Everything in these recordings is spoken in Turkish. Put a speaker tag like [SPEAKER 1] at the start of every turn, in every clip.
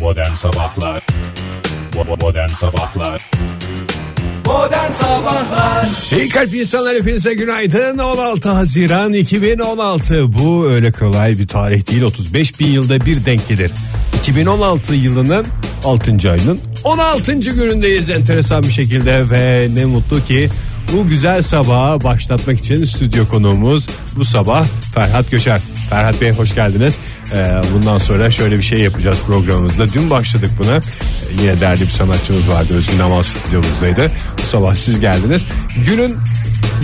[SPEAKER 1] Modern Sabahlar Bo- Modern Sabahlar
[SPEAKER 2] İyi kalp insanlar hepinize günaydın 16 Haziran 2016 Bu öyle kolay bir tarih değil 35 bin yılda bir denk gelir 2016 yılının 6. ayının 16. günündeyiz enteresan bir şekilde ve ne mutlu ki bu güzel sabaha başlatmak için stüdyo konuğumuz bu sabah Ferhat Göçer. Ferhat Bey hoş geldiniz. Ee, bundan sonra şöyle bir şey yapacağız programımızda. Dün başladık buna. Ee, Yine değerli bir sanatçımız vardı. Özgün Amal stüdyomuzdaydı. Bu sabah siz geldiniz. Günün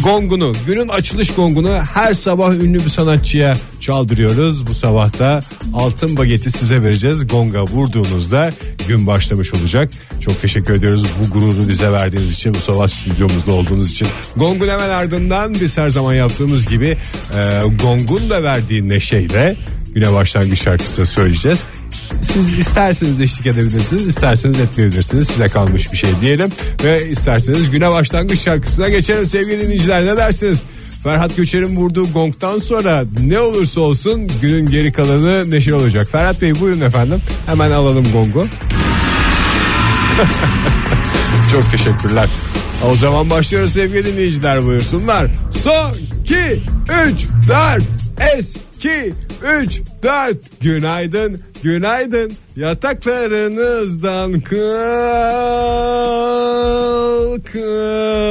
[SPEAKER 2] gongunu, günün açılış gongunu her sabah ünlü bir sanatçıya çaldırıyoruz. Bu sabah da altın bageti size vereceğiz. Gonga vurduğunuzda gün başlamış olacak. Çok teşekkür ediyoruz bu gururu bize verdiğiniz için, bu sabah stüdyomuzda olduğunuz için. Gongun hemen ardından biz her zaman yaptığımız gibi e, Gong'un da verdiği neşeyle güne başlangıç şarkısı söyleyeceğiz. Siz isterseniz eşlik edebilirsiniz, isterseniz etmeyebilirsiniz. Size kalmış bir şey diyelim. Ve isterseniz güne başlangıç şarkısına geçelim sevgili dinleyiciler. Ne dersiniz? Ferhat Göçer'in vurduğu gongtan sonra ne olursa olsun günün geri kalanı neşe olacak. Ferhat Bey buyurun efendim. Hemen alalım gongu. Çok teşekkürler. O zaman başlıyoruz sevgili dinleyiciler buyursunlar. Son 2 3 4 eski 3 4 günaydın günaydın yataklarınızdan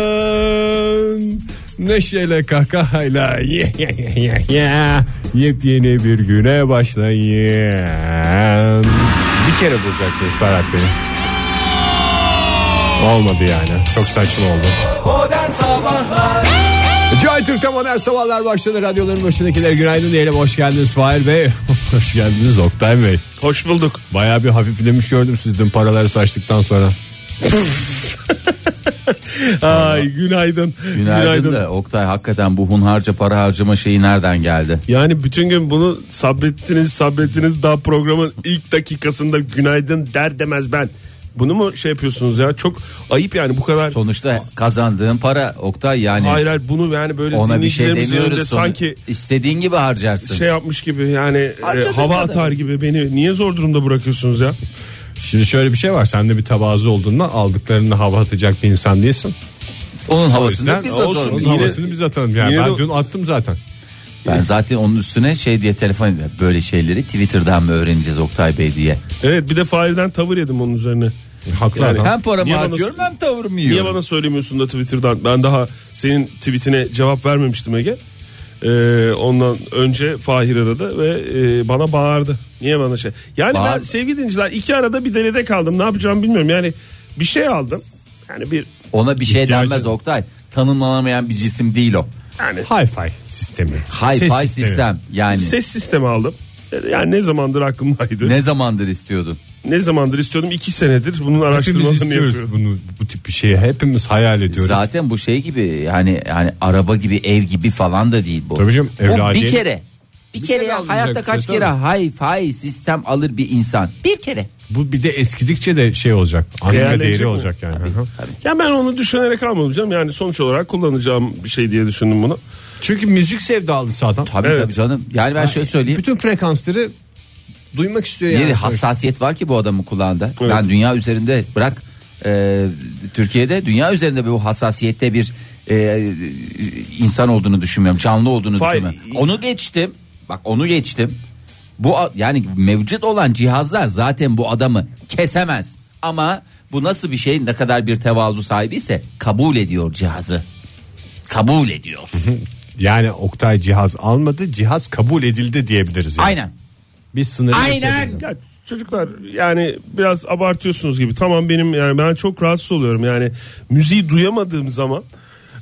[SPEAKER 2] kalkın. Neşeyle kahkahayla ye ye ye ye ye. yepyeni bir güne başlayın. Bir kere bulacaksınız Ferhat Bey'i. Olmadı yani. Çok saçma oldu. Joy Türk'te modern sabahlar başladı. Radyoların başındakiler günaydın diyelim. Hoş geldiniz Fahir Bey. Hoş geldiniz Oktay Bey.
[SPEAKER 3] Hoş bulduk.
[SPEAKER 2] Bayağı bir hafiflemiş gördüm siz dün paraları saçtıktan sonra.
[SPEAKER 3] Ay günaydın.
[SPEAKER 4] Günaydın, da Oktay hakikaten bu hunharca para harcama şeyi nereden geldi?
[SPEAKER 3] Yani bütün gün bunu sabrettiniz sabrettiniz daha programın ilk dakikasında günaydın der demez ben. Bunu mu şey yapıyorsunuz ya çok ayıp yani bu kadar.
[SPEAKER 4] Sonuçta kazandığın para Oktay yani
[SPEAKER 3] Hayır hayır bunu yani böyle
[SPEAKER 4] ona bir şey
[SPEAKER 3] dinleyicilerimizin önünde
[SPEAKER 4] demiyoruz. Sonu-
[SPEAKER 3] sanki
[SPEAKER 4] istediğin gibi harcarsın.
[SPEAKER 3] şey yapmış gibi yani e, hava atar gibi beni niye zor durumda bırakıyorsunuz ya?
[SPEAKER 2] Şimdi şöyle bir şey var. Sen de bir tabazı olduğunda aldıklarını hava atacak bir insan değilsin.
[SPEAKER 4] Onun
[SPEAKER 2] O
[SPEAKER 4] havasını
[SPEAKER 2] yüzden
[SPEAKER 4] biz
[SPEAKER 2] olsun,
[SPEAKER 4] atalım.
[SPEAKER 2] onun
[SPEAKER 4] Yine-
[SPEAKER 2] havasını biz atalım. Yani
[SPEAKER 3] Yine
[SPEAKER 2] ben
[SPEAKER 3] de-
[SPEAKER 2] dün attım zaten.
[SPEAKER 4] Ben zaten onun üstüne şey diye telefon ediyorum. Böyle şeyleri Twitter'dan mı öğreneceğiz Oktay Bey diye.
[SPEAKER 3] Evet bir de Fahir'den tavır yedim onun üzerine.
[SPEAKER 2] Haklı
[SPEAKER 3] Yani-
[SPEAKER 2] adam.
[SPEAKER 4] Hem paramı
[SPEAKER 3] Niye bana-
[SPEAKER 4] harcıyorum hem tavrımı
[SPEAKER 3] Niye
[SPEAKER 4] yiyorum.
[SPEAKER 3] bana söylemiyorsun da Twitter'dan? Ben daha senin tweetine cevap vermemiştim Ege. Ee, ondan önce Fahir aradı ve e, bana bağırdı. Niye bana şey? Yani ben
[SPEAKER 4] Bağırdı.
[SPEAKER 3] sevgili dinleyiciler iki arada bir derede kaldım. Ne yapacağımı bilmiyorum. Yani bir şey aldım. Yani bir
[SPEAKER 4] Ona bir şey
[SPEAKER 3] İhtiyacı-
[SPEAKER 4] denmez Oktay. Tanımlanamayan bir cisim değil o.
[SPEAKER 3] yani
[SPEAKER 2] Hi-fi sistemi. Ses
[SPEAKER 4] Hi-fi
[SPEAKER 2] sistemi.
[SPEAKER 4] sistem yani.
[SPEAKER 3] ses sistemi aldım. E, Yani ne zamandır aklımdaydı. Ne,
[SPEAKER 4] Ne zamandır istiyordun?
[SPEAKER 3] zamandır istiyordum? İki senedir bunun
[SPEAKER 2] Hepimiz
[SPEAKER 3] araştırmalarını
[SPEAKER 2] istiyoruz
[SPEAKER 3] yapıyorum.
[SPEAKER 2] bunu, bu tip bir şeyi. Hepimiz hayal ediyoruz.
[SPEAKER 4] Zaten bu şey gibi hani hani araba gibi ev gibi falan da değil bu.
[SPEAKER 2] Tabii canım,
[SPEAKER 4] Bu
[SPEAKER 2] evladiye-
[SPEAKER 4] bir kere. Bir, kere,
[SPEAKER 2] kere
[SPEAKER 4] ya,
[SPEAKER 2] alınacak
[SPEAKER 4] hayatta
[SPEAKER 2] bir
[SPEAKER 4] kaç
[SPEAKER 2] şey,
[SPEAKER 4] kere hay fay sistem alır bir insan. Bir kere.
[SPEAKER 2] Bu bir de eskidikçe de şey olacak. Anime
[SPEAKER 3] Değerlenecek
[SPEAKER 2] değeri
[SPEAKER 3] mi?
[SPEAKER 2] olacak yani. Hı hı.
[SPEAKER 3] Ya ben onu düşünerek almadım canım. Yani sonuç olarak kullanacağım bir şey diye düşündüm bunu.
[SPEAKER 2] Çünkü müzik sevdalısı adam.
[SPEAKER 4] Tabii
[SPEAKER 3] Evet.
[SPEAKER 4] tabii canım. Yani ben şöyle söyleyeyim.
[SPEAKER 2] Bütün frekansları duymak istiyor yani.
[SPEAKER 4] Bir hassasiyet var ki bu adamın kulağında.
[SPEAKER 3] Evet.
[SPEAKER 4] Ben dünya üzerinde bırak e, Türkiye'de dünya üzerinde bu hassasiyette bir e, insan olduğunu düşünmüyorum. Canlı olduğunu
[SPEAKER 3] Fay-
[SPEAKER 4] düşünmüyorum. Onu geçtim. Bak onu geçtim. Bu a- yani mevcut olan cihazlar zaten bu adamı kesemez. Ama bu nasıl bir şey ne kadar bir tevazu sahibi ise kabul ediyor cihazı. Kabul ediyor.
[SPEAKER 2] Yani Oktay cihaz almadı, cihaz kabul edildi diyebiliriz. Yani.
[SPEAKER 4] Aynen.
[SPEAKER 2] Biz sınırı
[SPEAKER 4] Aynen.
[SPEAKER 2] geçebiliriz.
[SPEAKER 3] Ya çocuklar yani biraz abartıyorsunuz gibi. Tamam benim yani ben çok rahatsız oluyorum. Yani müziği duyamadığım zaman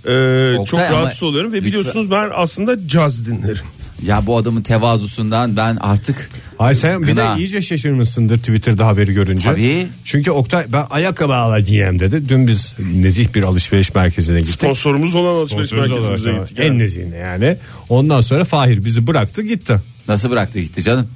[SPEAKER 3] e, çok
[SPEAKER 4] ama
[SPEAKER 3] rahatsız oluyorum ve
[SPEAKER 4] lütfen.
[SPEAKER 3] biliyorsunuz ben aslında caz dinlerim.
[SPEAKER 4] Ya bu adamın tevazusundan ben artık
[SPEAKER 2] Ay sen bir de
[SPEAKER 4] Gına.
[SPEAKER 2] iyice şaşırmışsındır Twitter'da haberi görünce.
[SPEAKER 4] Tabii.
[SPEAKER 2] Çünkü Oktay ben ayakkabı alacağım dedi. Dün biz nezih bir alışveriş merkezine gittik.
[SPEAKER 3] Sponsorumuz olan alışveriş
[SPEAKER 2] Sponsorumuz
[SPEAKER 3] merkezimize
[SPEAKER 2] olarak
[SPEAKER 3] gittik.
[SPEAKER 2] ama En
[SPEAKER 3] Yani.
[SPEAKER 2] nezihine yani. Ondan sonra Fahir bizi bıraktı gitti.
[SPEAKER 4] Nasıl bıraktı gitti canım?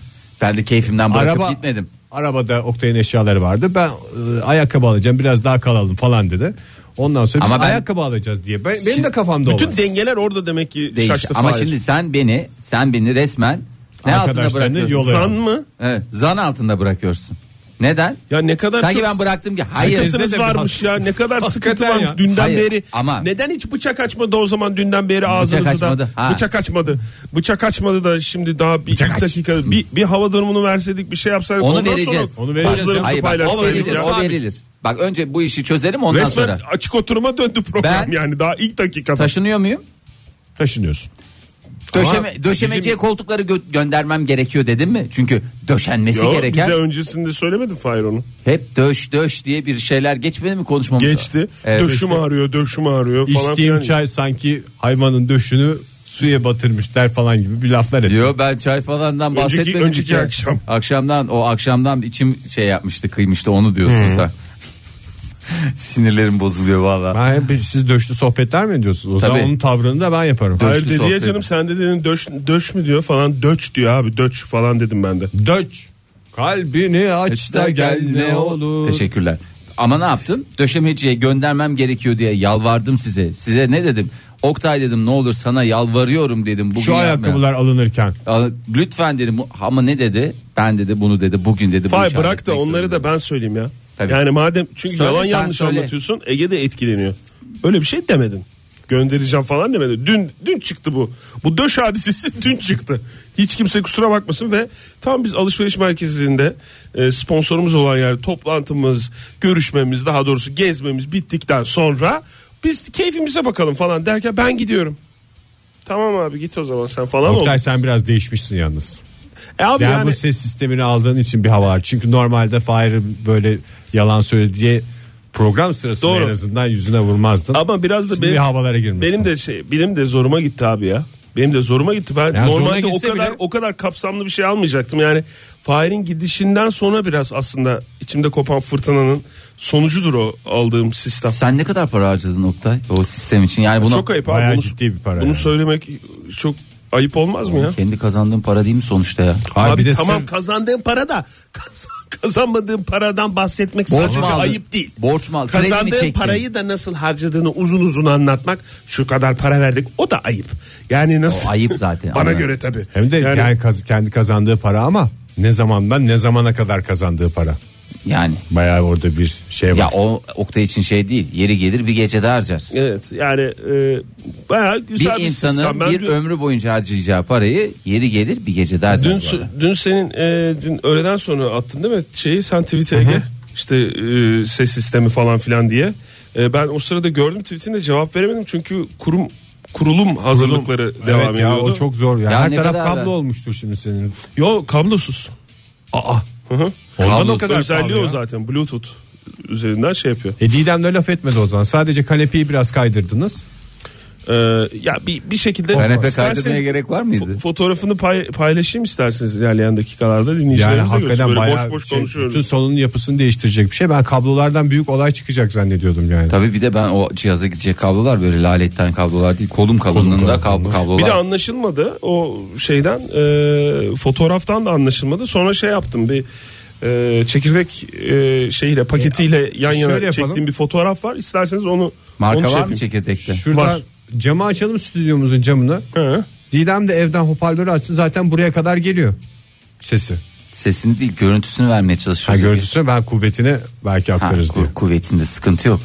[SPEAKER 4] Ben de keyfimden bırakıp gitmedim.
[SPEAKER 2] Arabada Oktay'ın eşyaları vardı. Ben e, ayakkabı alacağım biraz daha kalalım falan dedi. Ondan sonra
[SPEAKER 4] Ama
[SPEAKER 2] biz
[SPEAKER 4] ben-
[SPEAKER 2] ayakkabı alacağız diye. Ben, benim
[SPEAKER 4] Şimdi
[SPEAKER 2] de kafamda
[SPEAKER 3] Bütün
[SPEAKER 2] olan.
[SPEAKER 3] dengeler orada demek ki
[SPEAKER 4] Değişti.
[SPEAKER 3] şaştı
[SPEAKER 4] Ama
[SPEAKER 3] Fahir.
[SPEAKER 4] şimdi sen beni, sen beni resmen ne altında
[SPEAKER 2] Arkadaşlarını
[SPEAKER 4] bırakıyorsun?
[SPEAKER 2] yola-
[SPEAKER 3] San mı?
[SPEAKER 4] Evet, zan altında bırakıyorsun. Neden?
[SPEAKER 3] Ya ne kadar
[SPEAKER 4] Sanki
[SPEAKER 3] çok-
[SPEAKER 4] ben bıraktım ki. Hayır.
[SPEAKER 2] Bizde de
[SPEAKER 3] Sıkıntınız
[SPEAKER 2] biraz-
[SPEAKER 3] varmış ya ne kadar sıkıntı
[SPEAKER 2] Hakikaten
[SPEAKER 3] varmış
[SPEAKER 2] ya.
[SPEAKER 3] dünden
[SPEAKER 4] Hayır,
[SPEAKER 3] beri.
[SPEAKER 4] ama-
[SPEAKER 3] Neden hiç bıçak açmadı o zaman dünden beri ağzınızı
[SPEAKER 4] açmadı,
[SPEAKER 3] da.
[SPEAKER 4] ha.
[SPEAKER 3] Bıçak açmadı. Bıçak açmadı da şimdi daha bir
[SPEAKER 2] Bıçak
[SPEAKER 3] ilk
[SPEAKER 2] aç.
[SPEAKER 3] dakika bir, bir hava durumunu verseydik bir şey yapsaydık.
[SPEAKER 4] Onu
[SPEAKER 3] Ondan
[SPEAKER 4] vereceğiz.
[SPEAKER 3] Sonra,
[SPEAKER 2] Onu vereceğiz
[SPEAKER 3] bazılarımızı
[SPEAKER 2] canım.
[SPEAKER 4] Hayır bak o
[SPEAKER 3] paylaşsaydık
[SPEAKER 4] verilir
[SPEAKER 3] ya.
[SPEAKER 4] o verilir. Bak önce bu işi çözelim ondan
[SPEAKER 3] Resmen
[SPEAKER 4] sonra.
[SPEAKER 3] açık oturuma döndü program
[SPEAKER 4] Ben-
[SPEAKER 3] yani daha ilk dakikada.
[SPEAKER 4] Taşınıyor muyum?
[SPEAKER 2] Taşınıyorsun.
[SPEAKER 4] Döşeme, döşemeciye
[SPEAKER 3] bizim-
[SPEAKER 4] koltukları gö- göndermem gerekiyor dedim mi? Çünkü döşenmesi
[SPEAKER 3] Yo,
[SPEAKER 4] gereken
[SPEAKER 3] Bize öncesinde söylemedin Fahir onu.
[SPEAKER 4] hep döş döş diye bir şeyler geçmedi mi konuşmamızda?
[SPEAKER 3] Geçti.
[SPEAKER 4] Evet.
[SPEAKER 3] döşüm ağrıyor, döşüm ağrıyor falan
[SPEAKER 2] İçtiğim
[SPEAKER 3] filan.
[SPEAKER 2] çay sanki hayvanın döşünü suya batırmış der falan gibi bir laflar ediyor.
[SPEAKER 4] Yo ben çay falandan
[SPEAKER 3] Önceki-
[SPEAKER 4] bahsetmedim.
[SPEAKER 3] önceki
[SPEAKER 4] ki.
[SPEAKER 3] akşam.
[SPEAKER 4] Akşamdan o akşamdan içim şey yapmıştı kıymıştı onu diyorsun sen. Sinirlerim bozuluyor valla.
[SPEAKER 2] Ben hep siz döşlü sohbetler mi ediyorsunuz? O zaman
[SPEAKER 4] Tabii.
[SPEAKER 2] onun tavrını da ben yaparım.
[SPEAKER 3] Hayır
[SPEAKER 4] Döşlü
[SPEAKER 3] dedi ya
[SPEAKER 4] sohbet.
[SPEAKER 3] canım sen de dedin döş, döş mü diyor falan döç diyor abi döç falan dedim ben de.
[SPEAKER 2] Döç. Kalbini aç da gel ne olur.
[SPEAKER 4] Teşekkürler. Ama ne yaptım? Döşemeciye göndermem gerekiyor diye yalvardım size. Size ne dedim? Oktay dedim ne olur sana yalvarıyorum dedim. Bugün
[SPEAKER 2] Şu
[SPEAKER 4] yapma.
[SPEAKER 2] ayakkabılar alınırken.
[SPEAKER 4] Al- Lütfen dedim Bu- ama ne dedi? Ben dedi bunu dedi bugün dedi. bu
[SPEAKER 3] Fay
[SPEAKER 4] işi
[SPEAKER 3] bırak da
[SPEAKER 4] halletmek
[SPEAKER 3] onları da
[SPEAKER 4] zorundayım.
[SPEAKER 3] ben söyleyeyim ya.
[SPEAKER 4] Tabii.
[SPEAKER 3] Yani madem çünkü
[SPEAKER 4] Söyle
[SPEAKER 3] yalan
[SPEAKER 4] sen
[SPEAKER 3] yanlış
[SPEAKER 4] söyle.
[SPEAKER 3] anlatıyorsun Ege de etkileniyor. Öyle bir şey demedin. Göndereceğim falan demedin. Dün dün çıktı bu. Bu döş hadisesi dün çıktı. Hiç kimse kusura bakmasın ve tam biz alışveriş merkezinde e, sponsorumuz olan yer toplantımız, görüşmemiz daha doğrusu gezmemiz bittikten sonra biz keyfimize bakalım falan derken ben gidiyorum. Tamam abi git o zaman sen falan ol.
[SPEAKER 2] Oktay sen biraz değişmişsin yalnız.
[SPEAKER 3] E abi
[SPEAKER 2] Yani,
[SPEAKER 3] yani-
[SPEAKER 2] bu ses sistemini aldığın için bir hava var. Çünkü normalde Fahir'in böyle yalan söylediği program sırasında
[SPEAKER 3] Doğru.
[SPEAKER 2] en azından yüzüne vurmazdın.
[SPEAKER 3] Ama biraz da
[SPEAKER 2] Şimdi
[SPEAKER 3] benim,
[SPEAKER 2] bir havalara girmişsin.
[SPEAKER 3] Benim de şey, benim de zoruma gitti abi ya. Benim de zoruma gitti. Ben
[SPEAKER 2] Yani zoruna
[SPEAKER 3] normalde o
[SPEAKER 2] gitse
[SPEAKER 3] kadar
[SPEAKER 2] bile-
[SPEAKER 3] o kadar kapsamlı bir şey almayacaktım. Yani Fahir'in gidişinden sonra biraz aslında içimde kopan fırtınanın sonucudur o aldığım sistem.
[SPEAKER 4] Sen ne kadar para harcadın Oktay o sistem için? Yani buna
[SPEAKER 3] çok ayıp abi.
[SPEAKER 2] Bayağı
[SPEAKER 3] Bunu,
[SPEAKER 2] ciddi bir para
[SPEAKER 3] bunu
[SPEAKER 2] yani.
[SPEAKER 3] söylemek çok ayıp olmaz mı ya?
[SPEAKER 4] kendi kazandığın para değil mi sonuçta ya?
[SPEAKER 2] Hayır,
[SPEAKER 3] Abi
[SPEAKER 2] bir de
[SPEAKER 3] tamam
[SPEAKER 2] sırf-
[SPEAKER 3] kazandığın para da kaz- kazanmadığın paradan bahsetmek
[SPEAKER 4] Borç
[SPEAKER 3] sadece
[SPEAKER 4] mu aldın?
[SPEAKER 3] ayıp değil.
[SPEAKER 4] Borç mu aldın? Kredi mi
[SPEAKER 3] Kazandığın
[SPEAKER 4] çektin?
[SPEAKER 3] parayı da nasıl harcadığını uzun uzun anlatmak şu kadar para verdik o da ayıp. Yani nasıl?
[SPEAKER 4] O ayıp zaten,
[SPEAKER 3] Bana
[SPEAKER 4] anladım.
[SPEAKER 3] göre tabii.
[SPEAKER 2] Hem de
[SPEAKER 3] Yani-
[SPEAKER 2] yani kaz- kendi kazandığı para ama ne zamandan ne zamana kadar kazandığı para.
[SPEAKER 4] Yani
[SPEAKER 2] Bayağı orada bir şey var.
[SPEAKER 4] ya o Oktay için şey değil. Yeri gelir bir gecede harcar.
[SPEAKER 3] Evet yani e, bayağı
[SPEAKER 4] bir
[SPEAKER 3] güzel bir,
[SPEAKER 4] insanın
[SPEAKER 3] sistem. Ben
[SPEAKER 4] bir
[SPEAKER 3] dün,
[SPEAKER 4] ömrü boyunca harcayacağı parayı yeri gelir bir gecede harcar.
[SPEAKER 3] dün,
[SPEAKER 4] bu arada.
[SPEAKER 3] dün senin e, dün öğleden sonra attın değil mi şeyi sen tweet'e Ege işte e, ses sistemi falan filan diye. E, ben o sırada gördüm tweet'ini de cevap veremedim çünkü kurum kurulum hazırlıkları devam
[SPEAKER 2] evet ya
[SPEAKER 3] ediyordu.
[SPEAKER 2] o çok zor. Ya.
[SPEAKER 4] Ya
[SPEAKER 2] Her
[SPEAKER 4] ne
[SPEAKER 2] taraf
[SPEAKER 4] kadar
[SPEAKER 2] kablo
[SPEAKER 4] da-
[SPEAKER 2] olmuştur şimdi senin.
[SPEAKER 3] Yo kablosuz. Aa. Hı hı.
[SPEAKER 2] Ondan
[SPEAKER 4] Kablo
[SPEAKER 2] o kadar
[SPEAKER 3] Özelliği
[SPEAKER 2] pahalı
[SPEAKER 3] o
[SPEAKER 2] ya.
[SPEAKER 3] zaten Bluetooth üzerinden şey yapıyor.
[SPEAKER 2] E Didem de laf etmedi o zaman. Sadece kanepeyi biraz kaydırdınız.
[SPEAKER 3] E, ya bir bir şekilde
[SPEAKER 4] Kanepe
[SPEAKER 3] İsterseniz-
[SPEAKER 4] kaydırmaya gerek var mıydı?
[SPEAKER 3] Fo- fotoğrafını pay- paylaşayım isterseniz ilerleyen dakikalarda dinleyicilerimize
[SPEAKER 2] Yani
[SPEAKER 3] görsün.
[SPEAKER 2] hakikaten
[SPEAKER 3] Böyle
[SPEAKER 2] bayağı
[SPEAKER 3] boş boş
[SPEAKER 2] şey,
[SPEAKER 3] konuşuyoruz.
[SPEAKER 2] bütün salonun yapısını değiştirecek bir şey. Ben kablolardan büyük olay çıkacak zannediyordum yani.
[SPEAKER 4] Tabii bir de ben o cihaza gidecek kablolar böyle laletten kablolar değil. Kolum kalınlığında kab- kablolar.
[SPEAKER 3] Bir de anlaşılmadı o şeyden e, fotoğraftan da anlaşılmadı. Sonra şey yaptım bir e, çekirdek e, şeyiyle paketiyle yan yana
[SPEAKER 2] şöyle yapalım.
[SPEAKER 3] çektiğim bir fotoğraf var. İsterseniz onu
[SPEAKER 4] Marka
[SPEAKER 3] onu şey
[SPEAKER 4] var mı
[SPEAKER 3] yapayım.
[SPEAKER 4] çekirdekte?
[SPEAKER 2] Şurada
[SPEAKER 3] Var.
[SPEAKER 2] camı açalım stüdyomuzun camını.
[SPEAKER 3] Hı.
[SPEAKER 2] Didem de evden hoparlörü açsın zaten buraya kadar geliyor sesi.
[SPEAKER 4] Sesini değil görüntüsünü vermeye
[SPEAKER 2] Ha
[SPEAKER 4] çalışıyoruz.
[SPEAKER 2] görüntüsü ben kuvvetini belki
[SPEAKER 4] Ha,
[SPEAKER 2] aktarırız
[SPEAKER 4] ku-
[SPEAKER 2] diye.
[SPEAKER 4] kuvvetinde sıkıntı yok.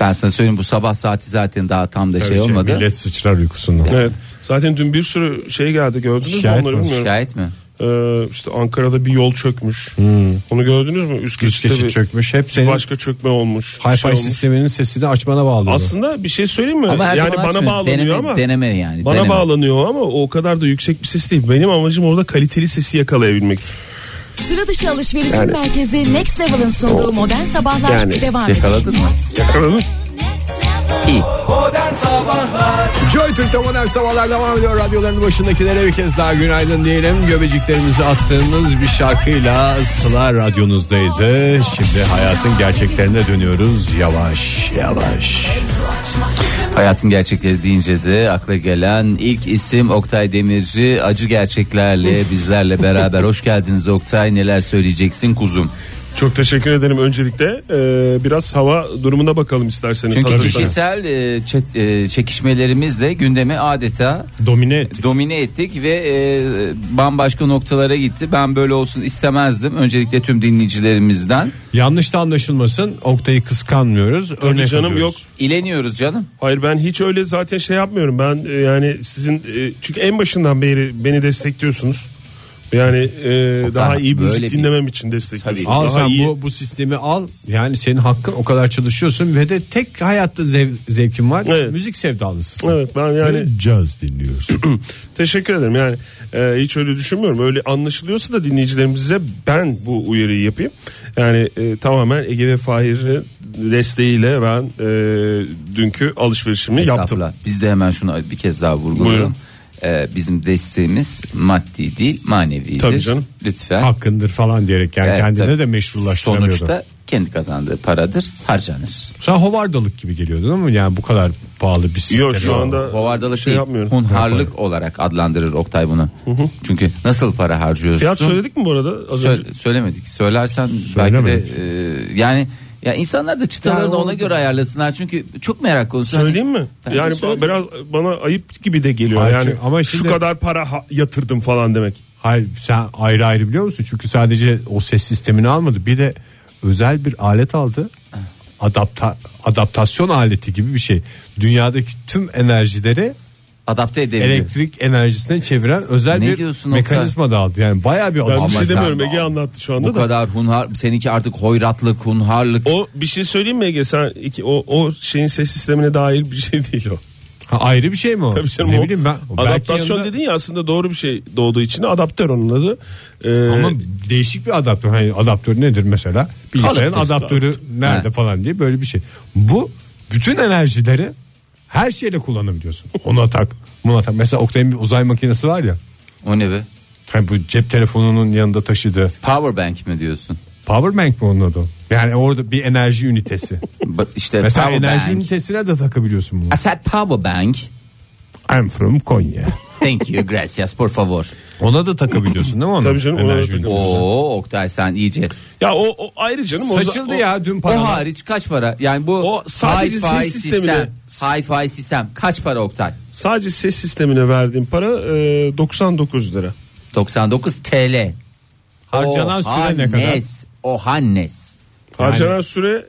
[SPEAKER 4] Ben sana söyleyeyim bu sabah saati zaten daha tam da şey
[SPEAKER 2] Tabii
[SPEAKER 4] olmadı.
[SPEAKER 2] Millet sıçrar uykusundan.
[SPEAKER 3] Evet. Zaten dün bir sürü şey geldi gördünüz mü
[SPEAKER 2] Şikayet
[SPEAKER 3] onları
[SPEAKER 2] mi?
[SPEAKER 3] bilmiyorum.
[SPEAKER 4] Şikayet mi?
[SPEAKER 3] E, işte Ankara'da bir yol çökmüş. Onu gördünüz mü? Üst
[SPEAKER 2] Üst
[SPEAKER 3] geçitte
[SPEAKER 2] Hmm. geçit
[SPEAKER 3] bir-
[SPEAKER 2] çökmüş. Hep
[SPEAKER 3] bir
[SPEAKER 2] senin
[SPEAKER 3] başka çökme olmuş.
[SPEAKER 2] hi-fi
[SPEAKER 3] Şey olmuş.
[SPEAKER 2] sisteminin sesini açmana bağlı.
[SPEAKER 3] Aslında bir şey söyleyeyim mi?
[SPEAKER 4] Ama her
[SPEAKER 3] yani
[SPEAKER 4] zaman
[SPEAKER 3] bana
[SPEAKER 4] açmıyor.
[SPEAKER 3] bağlanıyor
[SPEAKER 4] deneme,
[SPEAKER 3] ama
[SPEAKER 4] deneme yani.
[SPEAKER 3] bana
[SPEAKER 4] deneme.
[SPEAKER 3] bağlanıyor ama o kadar da yüksek bir ses değil. Benim amacım orada kaliteli sesi yakalayabilmekti.
[SPEAKER 5] Sıra dışı alışverişin merkezi Next Level'ın sunduğu modern sabahlar
[SPEAKER 3] Yani,
[SPEAKER 5] devam
[SPEAKER 4] Yakaladın
[SPEAKER 5] edecek.
[SPEAKER 4] mı?
[SPEAKER 3] Yakaladın.
[SPEAKER 4] İyi.
[SPEAKER 2] Joy Türk'te modern sabahlar devam ediyor. Radyoların başındakilere bir kez daha günaydın diyelim. Göbeciklerimizi attığımız bir şarkıyla Sıla radyonuzdaydı. Şimdi hayatın gerçeklerine dönüyoruz yavaş yavaş.
[SPEAKER 4] Hayatın gerçekleri deyince de akla gelen ilk isim Oktay Demirci. Acı gerçeklerle bizlerle beraber. Hoş geldiniz Oktay. Neler söyleyeceksin kuzum?
[SPEAKER 3] Çok teşekkür ederim öncelikle. Ee, biraz hava durumuna bakalım isterseniz.
[SPEAKER 4] Çünkü
[SPEAKER 3] hazırsanız.
[SPEAKER 4] kişisel e, çet- e, çekişmelerimizle gündemi adeta
[SPEAKER 2] Domine ettik.
[SPEAKER 4] domine ettik ve e, bambaşka noktalara gitti. Ben böyle olsun istemezdim. Öncelikle tüm dinleyicilerimizden
[SPEAKER 2] Yanlış da anlaşılmasın. Oktay'ı kıskanmıyoruz.
[SPEAKER 3] Tabii
[SPEAKER 2] Örnek
[SPEAKER 3] canım yok.
[SPEAKER 2] alıyoruz.
[SPEAKER 4] ileniyoruz canım.
[SPEAKER 3] Hayır ben hiç öyle zaten şey yapmıyorum. Ben e, yani sizin e, çünkü en başından beri beni destekliyorsunuz. Yani e, daha iyi
[SPEAKER 4] böyle
[SPEAKER 3] müzik
[SPEAKER 4] bir-
[SPEAKER 3] dinlemem için destekliyorsunuz.
[SPEAKER 2] Al
[SPEAKER 3] daha
[SPEAKER 2] sen
[SPEAKER 3] iyi.
[SPEAKER 2] bu, bu sistemi al. Yani senin hakkın o kadar çalışıyorsun ve de tek hayatta zev- zevkin var.
[SPEAKER 3] Evet.
[SPEAKER 2] Müzik sevdalısısın.
[SPEAKER 3] Evet ben yani
[SPEAKER 2] Yani caz dinliyorsun.
[SPEAKER 3] Teşekkür ederim. Yani e, hiç öyle düşünmüyorum. Öyle anlaşılıyorsa da dinleyicilerimize ben bu uyarıyı yapayım. Yani e, tamamen Ege ve Fahir'in desteğiyle ben e, dünkü alışverişimi yaptım.
[SPEAKER 4] Estağfurullah. Biz de hemen şunu bir kez daha
[SPEAKER 3] Buyurun.
[SPEAKER 4] vurgulayalım. Ee, bizim desteğimiz maddi değil manevidir.
[SPEAKER 3] Tabii canım.
[SPEAKER 4] Lütfen.
[SPEAKER 2] Hakkındır falan diyerek yani
[SPEAKER 4] Evet,
[SPEAKER 2] kendine
[SPEAKER 4] tabii.
[SPEAKER 2] de meşrulaştıramıyordun.
[SPEAKER 4] Sonuçta kendi kazandığı paradır harcanır.
[SPEAKER 2] Sen hovardalık gibi geliyordu değil mi? Yani bu kadar pahalı bir sistem.
[SPEAKER 3] Yok şu anda
[SPEAKER 4] Hovardalık
[SPEAKER 3] şey
[SPEAKER 4] değil
[SPEAKER 3] yapmıyorum.
[SPEAKER 4] hunharlık olarak adlandırır Oktay bunu. Çünkü nasıl para harcıyorsun?
[SPEAKER 3] Fiyat söyledik mi bu arada? Az
[SPEAKER 4] Sö-
[SPEAKER 3] önce?
[SPEAKER 4] söylemedik. Söylersen belki de e, yani ya insanlar da çıtalarını
[SPEAKER 2] Yani
[SPEAKER 4] ona
[SPEAKER 2] oldu.
[SPEAKER 4] göre ayarlasınlar. Çünkü çok merak konusu. Hani-
[SPEAKER 3] Söyleyeyim mi?
[SPEAKER 4] Bence
[SPEAKER 3] Yani
[SPEAKER 4] söyle.
[SPEAKER 3] biraz bana ayıp gibi de geliyor.
[SPEAKER 2] Hayır,
[SPEAKER 3] yani
[SPEAKER 2] çünkü- ama
[SPEAKER 3] şu
[SPEAKER 2] şimdi-
[SPEAKER 3] kadar para ha- yatırdım falan demek.
[SPEAKER 2] Hayır sen ayrı ayrı biliyor musun? Çünkü sadece o ses sistemini almadı. Bir de özel bir alet aldı. Adapta, adaptasyon aleti gibi bir şey. Dünyadaki tüm enerjileri
[SPEAKER 4] adapte edebiliyor.
[SPEAKER 2] elektrik enerjisine çeviren özel
[SPEAKER 4] Ne
[SPEAKER 2] bir
[SPEAKER 4] diyorsun
[SPEAKER 2] mekanizma da aldı. Yani bayağı bir
[SPEAKER 3] Ben
[SPEAKER 2] adam.
[SPEAKER 3] bir şey
[SPEAKER 4] sen-
[SPEAKER 3] demiyorum Ege anlattı şu anda
[SPEAKER 4] Bu
[SPEAKER 3] da.
[SPEAKER 4] kadar hunhar seninki artık hoyratlık, hunharlık.
[SPEAKER 3] O bir şey söyleyeyim mi Ege? Sen iki, o, o şeyin ses sistemine dair bir şey değil o.
[SPEAKER 2] Ha, ayrı bir şey mi o?
[SPEAKER 3] Tabii canım
[SPEAKER 2] ne
[SPEAKER 3] o
[SPEAKER 2] bileyim ben. belki
[SPEAKER 3] Adaptasyon
[SPEAKER 2] yanında-
[SPEAKER 3] dedin ya aslında doğru bir şey doğduğu için adaptör onun adı. Ee,
[SPEAKER 2] Ama değişik bir adaptör. Hani adaptör nedir mesela? Bilgisayarın
[SPEAKER 3] Kalıptır.
[SPEAKER 2] adaptörü nerede
[SPEAKER 4] He.
[SPEAKER 2] falan diye böyle bir şey. Bu bütün enerjileri her şeyle kullanabiliyorsun. Ona tak, buna tak. Mesela Oktay'ın bir uzay makinesi var ya.
[SPEAKER 4] O ne be?
[SPEAKER 2] Hani bu cep telefonunun yanında taşıdığı.
[SPEAKER 4] Power bank mi diyorsun?
[SPEAKER 2] Power bank mi onun adı? Yani orada bir enerji ünitesi.
[SPEAKER 4] Ba- İşte
[SPEAKER 2] Mesela
[SPEAKER 4] power
[SPEAKER 2] enerji
[SPEAKER 4] bank.
[SPEAKER 2] ünitesine de takabiliyorsun bunu.
[SPEAKER 4] I said power bank.
[SPEAKER 2] I'm from Konya.
[SPEAKER 4] Thank you, gracias, por favor.
[SPEAKER 2] Ona da takabiliyorsun değil mi onu?
[SPEAKER 3] Tabii canım, ona da
[SPEAKER 2] Enerji ünitesi.
[SPEAKER 3] takabiliyorsun.
[SPEAKER 4] Oo Oktay sen iyice.
[SPEAKER 3] ya o, o ayrı canım. o-
[SPEAKER 2] Saçıldı
[SPEAKER 3] o-
[SPEAKER 2] ya dün
[SPEAKER 4] O
[SPEAKER 2] para.
[SPEAKER 4] hariç kaç para? Yani bu
[SPEAKER 3] O sadece
[SPEAKER 4] hi-fi
[SPEAKER 2] şey
[SPEAKER 3] ses sistemine-
[SPEAKER 4] sistem. Hi-fi sistem kaç para Oktay?
[SPEAKER 3] Sadece ses sistemine verdiğim para e, 99 lira.
[SPEAKER 4] 99 TL.
[SPEAKER 2] Harcanan süre ne kadar?
[SPEAKER 4] Ohannes, Ohannes.
[SPEAKER 3] Harcanan süre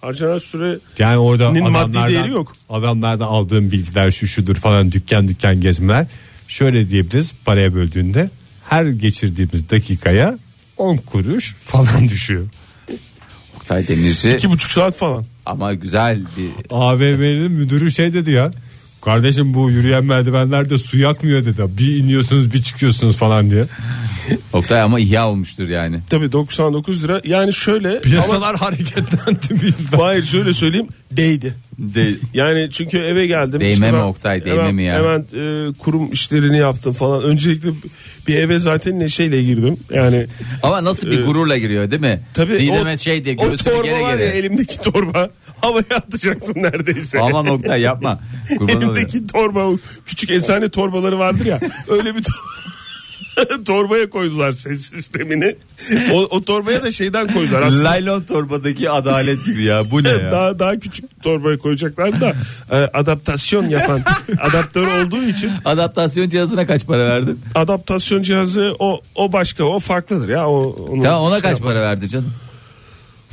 [SPEAKER 3] harcanan süre
[SPEAKER 2] Yani orada
[SPEAKER 3] Nin maddi
[SPEAKER 2] adamlardan,
[SPEAKER 3] değeri yok.
[SPEAKER 2] adamlardan aldığım bilgiler şu şudur falan dükkan dükkan gezmeler. Şöyle diyebiliriz paraya böldüğünde her geçirdiğimiz dakikaya 10 kuruş falan düşüyor.
[SPEAKER 4] Oktay Demirci
[SPEAKER 3] iki buçuk saat falan.
[SPEAKER 4] ama güzel bir
[SPEAKER 2] AVM'nin müdürü şey dedi ya. Kardeşim bu yürüyen merdivenlerde su yakmıyor dedi. Bir iniyorsunuz bir çıkıyorsunuz falan diye.
[SPEAKER 4] Oktay ama ihya olmuştur yani.
[SPEAKER 3] Tabii 99 lira. Yani şöyle ama
[SPEAKER 2] Piyasalar hareketlendi birden.
[SPEAKER 3] hayır şöyle söyleyeyim değdi.
[SPEAKER 4] De-
[SPEAKER 3] Yani çünkü eve geldim.
[SPEAKER 4] Değme
[SPEAKER 3] işte
[SPEAKER 4] mi
[SPEAKER 3] ben
[SPEAKER 4] Oktay, değme
[SPEAKER 3] hemen,
[SPEAKER 4] mi ya?
[SPEAKER 3] Hemen e, kurum işlerini yaptım falan. Öncelikle bir eve zaten neşeyle girdim. Yani
[SPEAKER 4] ama nasıl bir gururla giriyor değil mi?
[SPEAKER 3] Tabii
[SPEAKER 4] Didem'e
[SPEAKER 3] o,
[SPEAKER 4] şey diye
[SPEAKER 3] o
[SPEAKER 4] göğsünü
[SPEAKER 3] torba
[SPEAKER 4] gere
[SPEAKER 3] var ya
[SPEAKER 4] gere.
[SPEAKER 3] elimdeki torba havaya atacaktım neredeyse.
[SPEAKER 4] Aman Oktay yapma. Kurban olayım.
[SPEAKER 3] elimdeki torba o küçük eczane torbaları vardır ya öyle bir tor- torbaya koydular ses sistemini. O, o torbaya da şeyden koydular aslında.
[SPEAKER 4] Laylon torbadaki adalet gibi ya. Bu ne ya?
[SPEAKER 3] Daha daha küçük torbaya koyacaklar da e, adaptasyon yapan adaptör olduğu için
[SPEAKER 4] Adaptasyon cihazına kaç para verdin?
[SPEAKER 3] adaptasyon cihazı o o başka o farklıdır ya o onu-
[SPEAKER 4] Tamam ona kaç para verdi canım?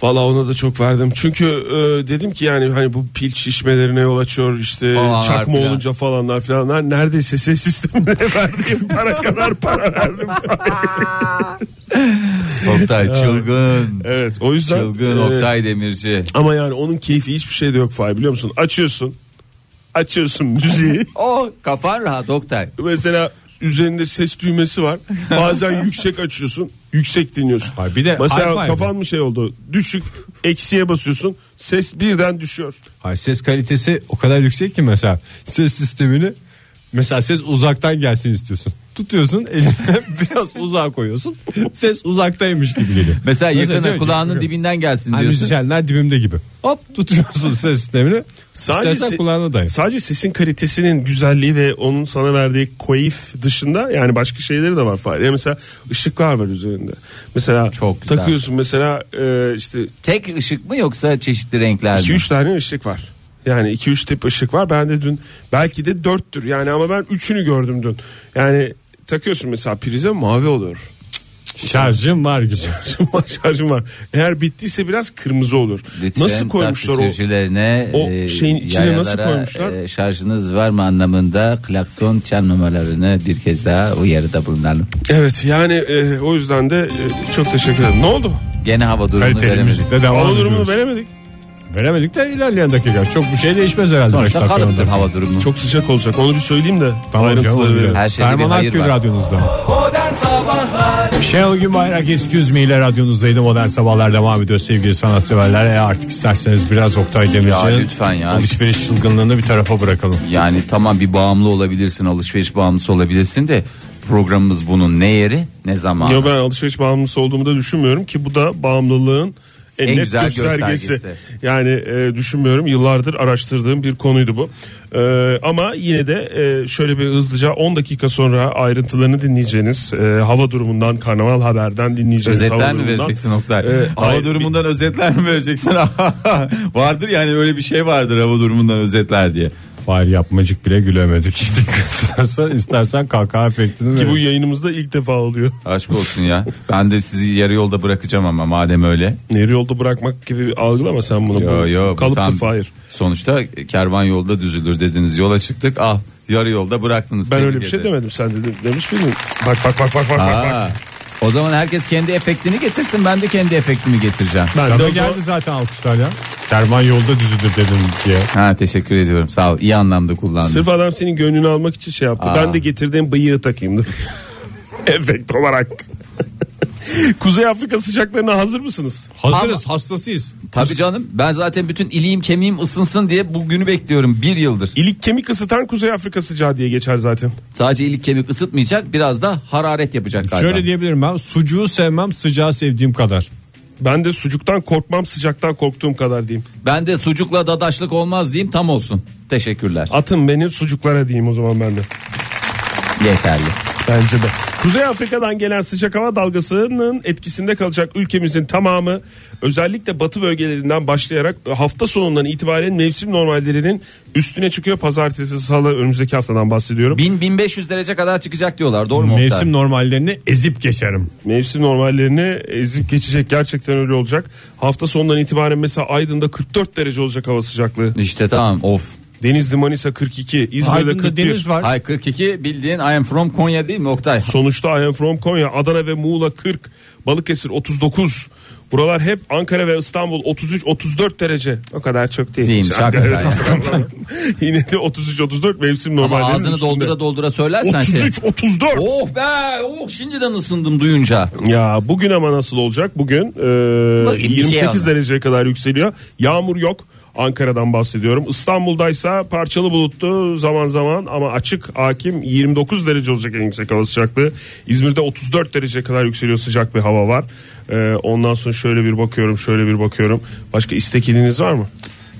[SPEAKER 3] Valla ona da çok verdim. Çünkü e, dedim ki yani hani bu pil şişmelerine yol açıyor işte
[SPEAKER 4] Falanlar
[SPEAKER 3] çakma
[SPEAKER 4] filan.
[SPEAKER 3] olunca falanlar filanlar neredeyse ses sistemine verdiğim para kadar para verdim.
[SPEAKER 4] Oktay çılgın.
[SPEAKER 3] Evet o yüzden
[SPEAKER 4] Çılgın
[SPEAKER 3] e,
[SPEAKER 4] Oktay Demirci.
[SPEAKER 3] ama yani onun keyfi hiçbir şeyde yok Fahir biliyor musun? Açıyorsun açıyorsun müziği
[SPEAKER 4] O kafan rahat Oktay.
[SPEAKER 3] mesela üzerinde ses düğmesi var. Bazen yüksek açıyorsun yüksek dinliyorsun.
[SPEAKER 2] Hayır, bir de
[SPEAKER 3] Mesela
[SPEAKER 2] hi-fi
[SPEAKER 3] kafan mı şey oldu düşük eksiye basıyorsun ses birden düşüyor.
[SPEAKER 2] Hayır, ses kalitesi o kadar yüksek ki mesela ses sistemini mesela ses uzaktan gelsin istiyorsun. tutuyorsun elinden biraz uzağa koyuyorsun. Ses uzaktaymış gibi geliyor.
[SPEAKER 4] Mesela
[SPEAKER 2] diyor
[SPEAKER 4] yakına
[SPEAKER 2] ki,
[SPEAKER 4] kulağının
[SPEAKER 2] diyor,
[SPEAKER 4] dibinden gelsin
[SPEAKER 2] "Hani
[SPEAKER 4] diyorsun.
[SPEAKER 2] müzisyenler dibimde gibi. Hop tutuyorsun ses sistemini.
[SPEAKER 3] Sadece
[SPEAKER 2] İstersen
[SPEAKER 3] se-
[SPEAKER 2] kulağına dayı.
[SPEAKER 3] Sadece sesin kalitesinin güzelliği ve onun sana verdiği koyif dışında yani başka şeyleri de var Fahri. Ya Mesela ışıklar var üzerinde. Mesela
[SPEAKER 4] Çok güzel.
[SPEAKER 3] takıyorsun mesela e, işte
[SPEAKER 4] Tek ışık mı yoksa çeşitli renkler mi?
[SPEAKER 3] 2-3 tane ışık var. Yani 2-3 tip ışık var. Ben de dün belki de 4'tür yani ama ben 3'ünü gördüm dün. Yani takıyorsun mesela prize mavi oluyor.
[SPEAKER 2] Şarjım var gibi.
[SPEAKER 3] Şarjım var. Eğer bittiyse biraz kırmızı olur.
[SPEAKER 4] Lütfen
[SPEAKER 3] Nasıl koymuşlar
[SPEAKER 4] taksi
[SPEAKER 3] o?
[SPEAKER 4] sürücülerine
[SPEAKER 3] o şeyin içine nasıl
[SPEAKER 4] yayalara,
[SPEAKER 3] koymuşlar?
[SPEAKER 4] e, şarjınız var mı anlamında klakson çalmamalarını bir kez daha uyarıda bulunalım.
[SPEAKER 3] Evet yani e, o yüzden de e, çok teşekkür ederim. Ne oldu?
[SPEAKER 4] Gene hava durumunu
[SPEAKER 2] Kaliteli
[SPEAKER 4] veremedik.
[SPEAKER 2] müzikle devam
[SPEAKER 3] Hava durumunu
[SPEAKER 2] ediyoruz.
[SPEAKER 3] veremedik.
[SPEAKER 2] Veremedik de ilerleyen dakika. Çok bir şey değişmez herhalde.
[SPEAKER 4] Sonuçta
[SPEAKER 2] Beş dakika, on
[SPEAKER 4] kalıptır
[SPEAKER 2] dakika.
[SPEAKER 4] hava durumu.
[SPEAKER 3] Çok sıcak olacak onu bir söyleyeyim de.
[SPEAKER 2] Tamam
[SPEAKER 3] ayrıntıları
[SPEAKER 2] canım.
[SPEAKER 3] verelim.
[SPEAKER 4] Her şeyde bir
[SPEAKER 2] Ferman
[SPEAKER 4] hayır
[SPEAKER 2] Akgül
[SPEAKER 4] var.
[SPEAKER 2] radyonuzda. Şenol Gün Bayrak Excuse Me ile radyonuzdaydı. Modern Sabahlar devam ediyor sevgili sanatseverler. E artık isterseniz biraz Oktay
[SPEAKER 4] Ya
[SPEAKER 2] Demirci'nin
[SPEAKER 4] lütfen ya.
[SPEAKER 2] alışveriş çılgınlığını bir tarafa bırakalım.
[SPEAKER 4] Yani tamam bir bağımlı olabilirsin alışveriş bağımlısı olabilirsin de programımız bunun ne yeri ne zamanı.
[SPEAKER 3] Yo ben alışveriş bağımlısı olduğumu da düşünmüyorum ki bu da bağımlılığın en,
[SPEAKER 4] En
[SPEAKER 3] net
[SPEAKER 4] güzel
[SPEAKER 3] göstergesi.
[SPEAKER 4] göstergesi.
[SPEAKER 3] Yani e, düşünmüyorum yıllardır araştırdığım bir konuydu bu. E, ama yine de e, şöyle bir hızlıca 10 dakika sonra ayrıntılarını dinleyeceğiniz e, hava durumundan Karnaval Haber'den dinleyeceğiniz hava
[SPEAKER 4] Özetler mi
[SPEAKER 3] durumundan.
[SPEAKER 4] vereceksin Oktay?
[SPEAKER 3] E,
[SPEAKER 4] hava
[SPEAKER 3] hayır,
[SPEAKER 4] durumundan özetler mi vereceksin? vardır yani öyle bir şey vardır hava durumundan özetler diye.
[SPEAKER 2] Fahir yapmacık bile gülemedik. istersen, istersen kahkaha efektini
[SPEAKER 3] Ki bu
[SPEAKER 2] verelim.
[SPEAKER 3] yayınımızda ilk defa oluyor.
[SPEAKER 4] Aşk olsun ya. Ben de sizi yarı yolda bırakacağım ama madem öyle.
[SPEAKER 3] Yarı yolda bırakmak gibi bir algılama sen bunu.
[SPEAKER 4] Yo
[SPEAKER 3] Bu
[SPEAKER 4] yo. bu
[SPEAKER 3] Kalıptır
[SPEAKER 4] tam-
[SPEAKER 3] Fahir.
[SPEAKER 4] Sonuçta kervan yolda düzülür dediniz. Yola çıktık. Ah yarı yolda bıraktınız.
[SPEAKER 3] Ben
[SPEAKER 4] Tebrik
[SPEAKER 3] öyle bir şey
[SPEAKER 4] ederim.
[SPEAKER 3] demedim sen dedin demiş miydin? Bak bak bak bak bak bak.
[SPEAKER 4] Aa, o zaman herkes kendi efektini getirsin. Ben de kendi efektimi getireceğim.
[SPEAKER 3] Ben de
[SPEAKER 2] Sana
[SPEAKER 3] o zaman-
[SPEAKER 2] geldi zaten alkışlar ya. Derman yolda düzülür dedim diye.
[SPEAKER 4] Ha teşekkür ediyorum. Sağ ol. İyi anlamda kullandım.
[SPEAKER 3] Sırf adam senin gönlünü almak için şey yaptı.
[SPEAKER 4] Aa.
[SPEAKER 3] Ben de getirdiğim bıyığı takayım dur. Efekt olarak. Kuzey Afrika sıcaklarına hazır mısınız?
[SPEAKER 2] Hazırız hastasıyız.
[SPEAKER 4] Tabii canım. Ben zaten bütün iliğim kemiğim ısınsın diye bugünü bekliyorum. Bir yıldır.
[SPEAKER 3] İlik kemik ısıtan Kuzey Afrika sıcağı diye geçer zaten.
[SPEAKER 4] Sadece ilik kemik ısıtmayacak. Biraz da hararet yapacak galiba.
[SPEAKER 2] Şöyle diyebilirim ben sucuğu sevmem sıcağı sevdiğim kadar.
[SPEAKER 3] Ben de sucuktan korkmam sıcaktan korktuğum kadar diyeyim.
[SPEAKER 4] Ben de sucukla dadaşlık olmaz diyeyim tam olsun. Teşekkürler.
[SPEAKER 3] Atın beni sucuklara diyeyim o zaman ben de.
[SPEAKER 4] Yeterli.
[SPEAKER 3] Bence de. Kuzey Afrika'dan gelen sıcak hava dalgasının etkisinde kalacak ülkemizin tamamı özellikle batı bölgelerinden başlayarak hafta sonundan itibaren mevsim normallerinin üstüne çıkıyor. Pazartesi, salı önümüzdeki haftadan bahsediyorum.
[SPEAKER 4] 1000-1500 derece kadar çıkacak diyorlar. Doğru mu? Oktay?
[SPEAKER 2] Mevsim normallerini ezip geçerim.
[SPEAKER 3] Mevsim normallerini ezip geçecek gerçekten öyle olacak. Hafta sonundan itibaren mesela Aydın'da 44 derece olacak hava sıcaklığı.
[SPEAKER 4] İşte tamam of.
[SPEAKER 3] Denizli Manisa 42, İzmir'de
[SPEAKER 2] Aydın'da
[SPEAKER 3] 41.
[SPEAKER 2] deniz var.
[SPEAKER 4] Hay 42 bildiğin I am from Konya değil mi Oktay?
[SPEAKER 3] Sonuçta I am from Konya, Adana ve Muğla 40, Balıkesir 39. Buralar hep Ankara ve İstanbul 33-34 derece. O kadar çok değil.
[SPEAKER 4] Değilmiş, hakikaten.
[SPEAKER 3] Yine de 33-34 mevsim
[SPEAKER 4] Ama
[SPEAKER 3] normallerinin
[SPEAKER 4] ağzını
[SPEAKER 3] üstünde.
[SPEAKER 4] doldura doldura söylersen şey.
[SPEAKER 3] 33-34.
[SPEAKER 4] Oh be oh şimdiden ısındım duyunca.
[SPEAKER 3] Ya bugün ama nasıl olacak? Bugün e,
[SPEAKER 4] Bugün bir şey
[SPEAKER 3] 28
[SPEAKER 4] olmaz.
[SPEAKER 3] dereceye kadar yükseliyor. Yağmur yok. Ankara'dan bahsediyorum. İstanbul'daysa parçalı bulutlu zaman zaman ama açık hakim 29 derece olacak en yüksek hava sıcaklığı. İzmir'de 34 dereceye kadar yükseliyor sıcak bir hava var. E, ondan sonra şöyle bir bakıyorum şöyle bir bakıyorum. Başka istekiliniz var mı?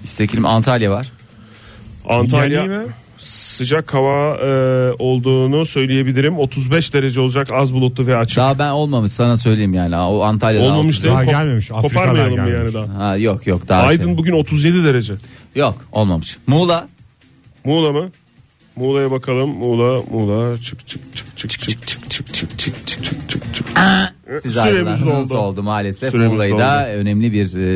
[SPEAKER 4] İstekilim Antalya var.
[SPEAKER 3] Antalya
[SPEAKER 2] Yani mi?
[SPEAKER 3] sıcak hava e, olduğunu söyleyebilirim. 35 derece olacak az bulutlu ve açık.
[SPEAKER 4] Daha ben olmamış sana söyleyeyim yani. Ha, O Antalya'da
[SPEAKER 3] Olmamış değil
[SPEAKER 2] Daha
[SPEAKER 3] mi? Kop-
[SPEAKER 2] gelmemiş.
[SPEAKER 3] Koparmayalım
[SPEAKER 2] Afrika'dan
[SPEAKER 3] mı yani
[SPEAKER 2] gelmiş.
[SPEAKER 3] daha?
[SPEAKER 4] Ha yok yok daha. şey-
[SPEAKER 3] Aydın bugün 37 derece.
[SPEAKER 4] Yok olmamış. Muğla
[SPEAKER 3] Muğla mı? Muğla'ya bakalım. Muğla, Muğla. Çık çık çık çık çık çık çık çık çık çık çık çık çık.
[SPEAKER 4] siz
[SPEAKER 3] Süremiz
[SPEAKER 4] ayrıldınız
[SPEAKER 3] doldu.
[SPEAKER 4] oldu maalesef.
[SPEAKER 3] Süremiz
[SPEAKER 4] Muğla'yı
[SPEAKER 3] doldu.
[SPEAKER 4] da önemli bir e,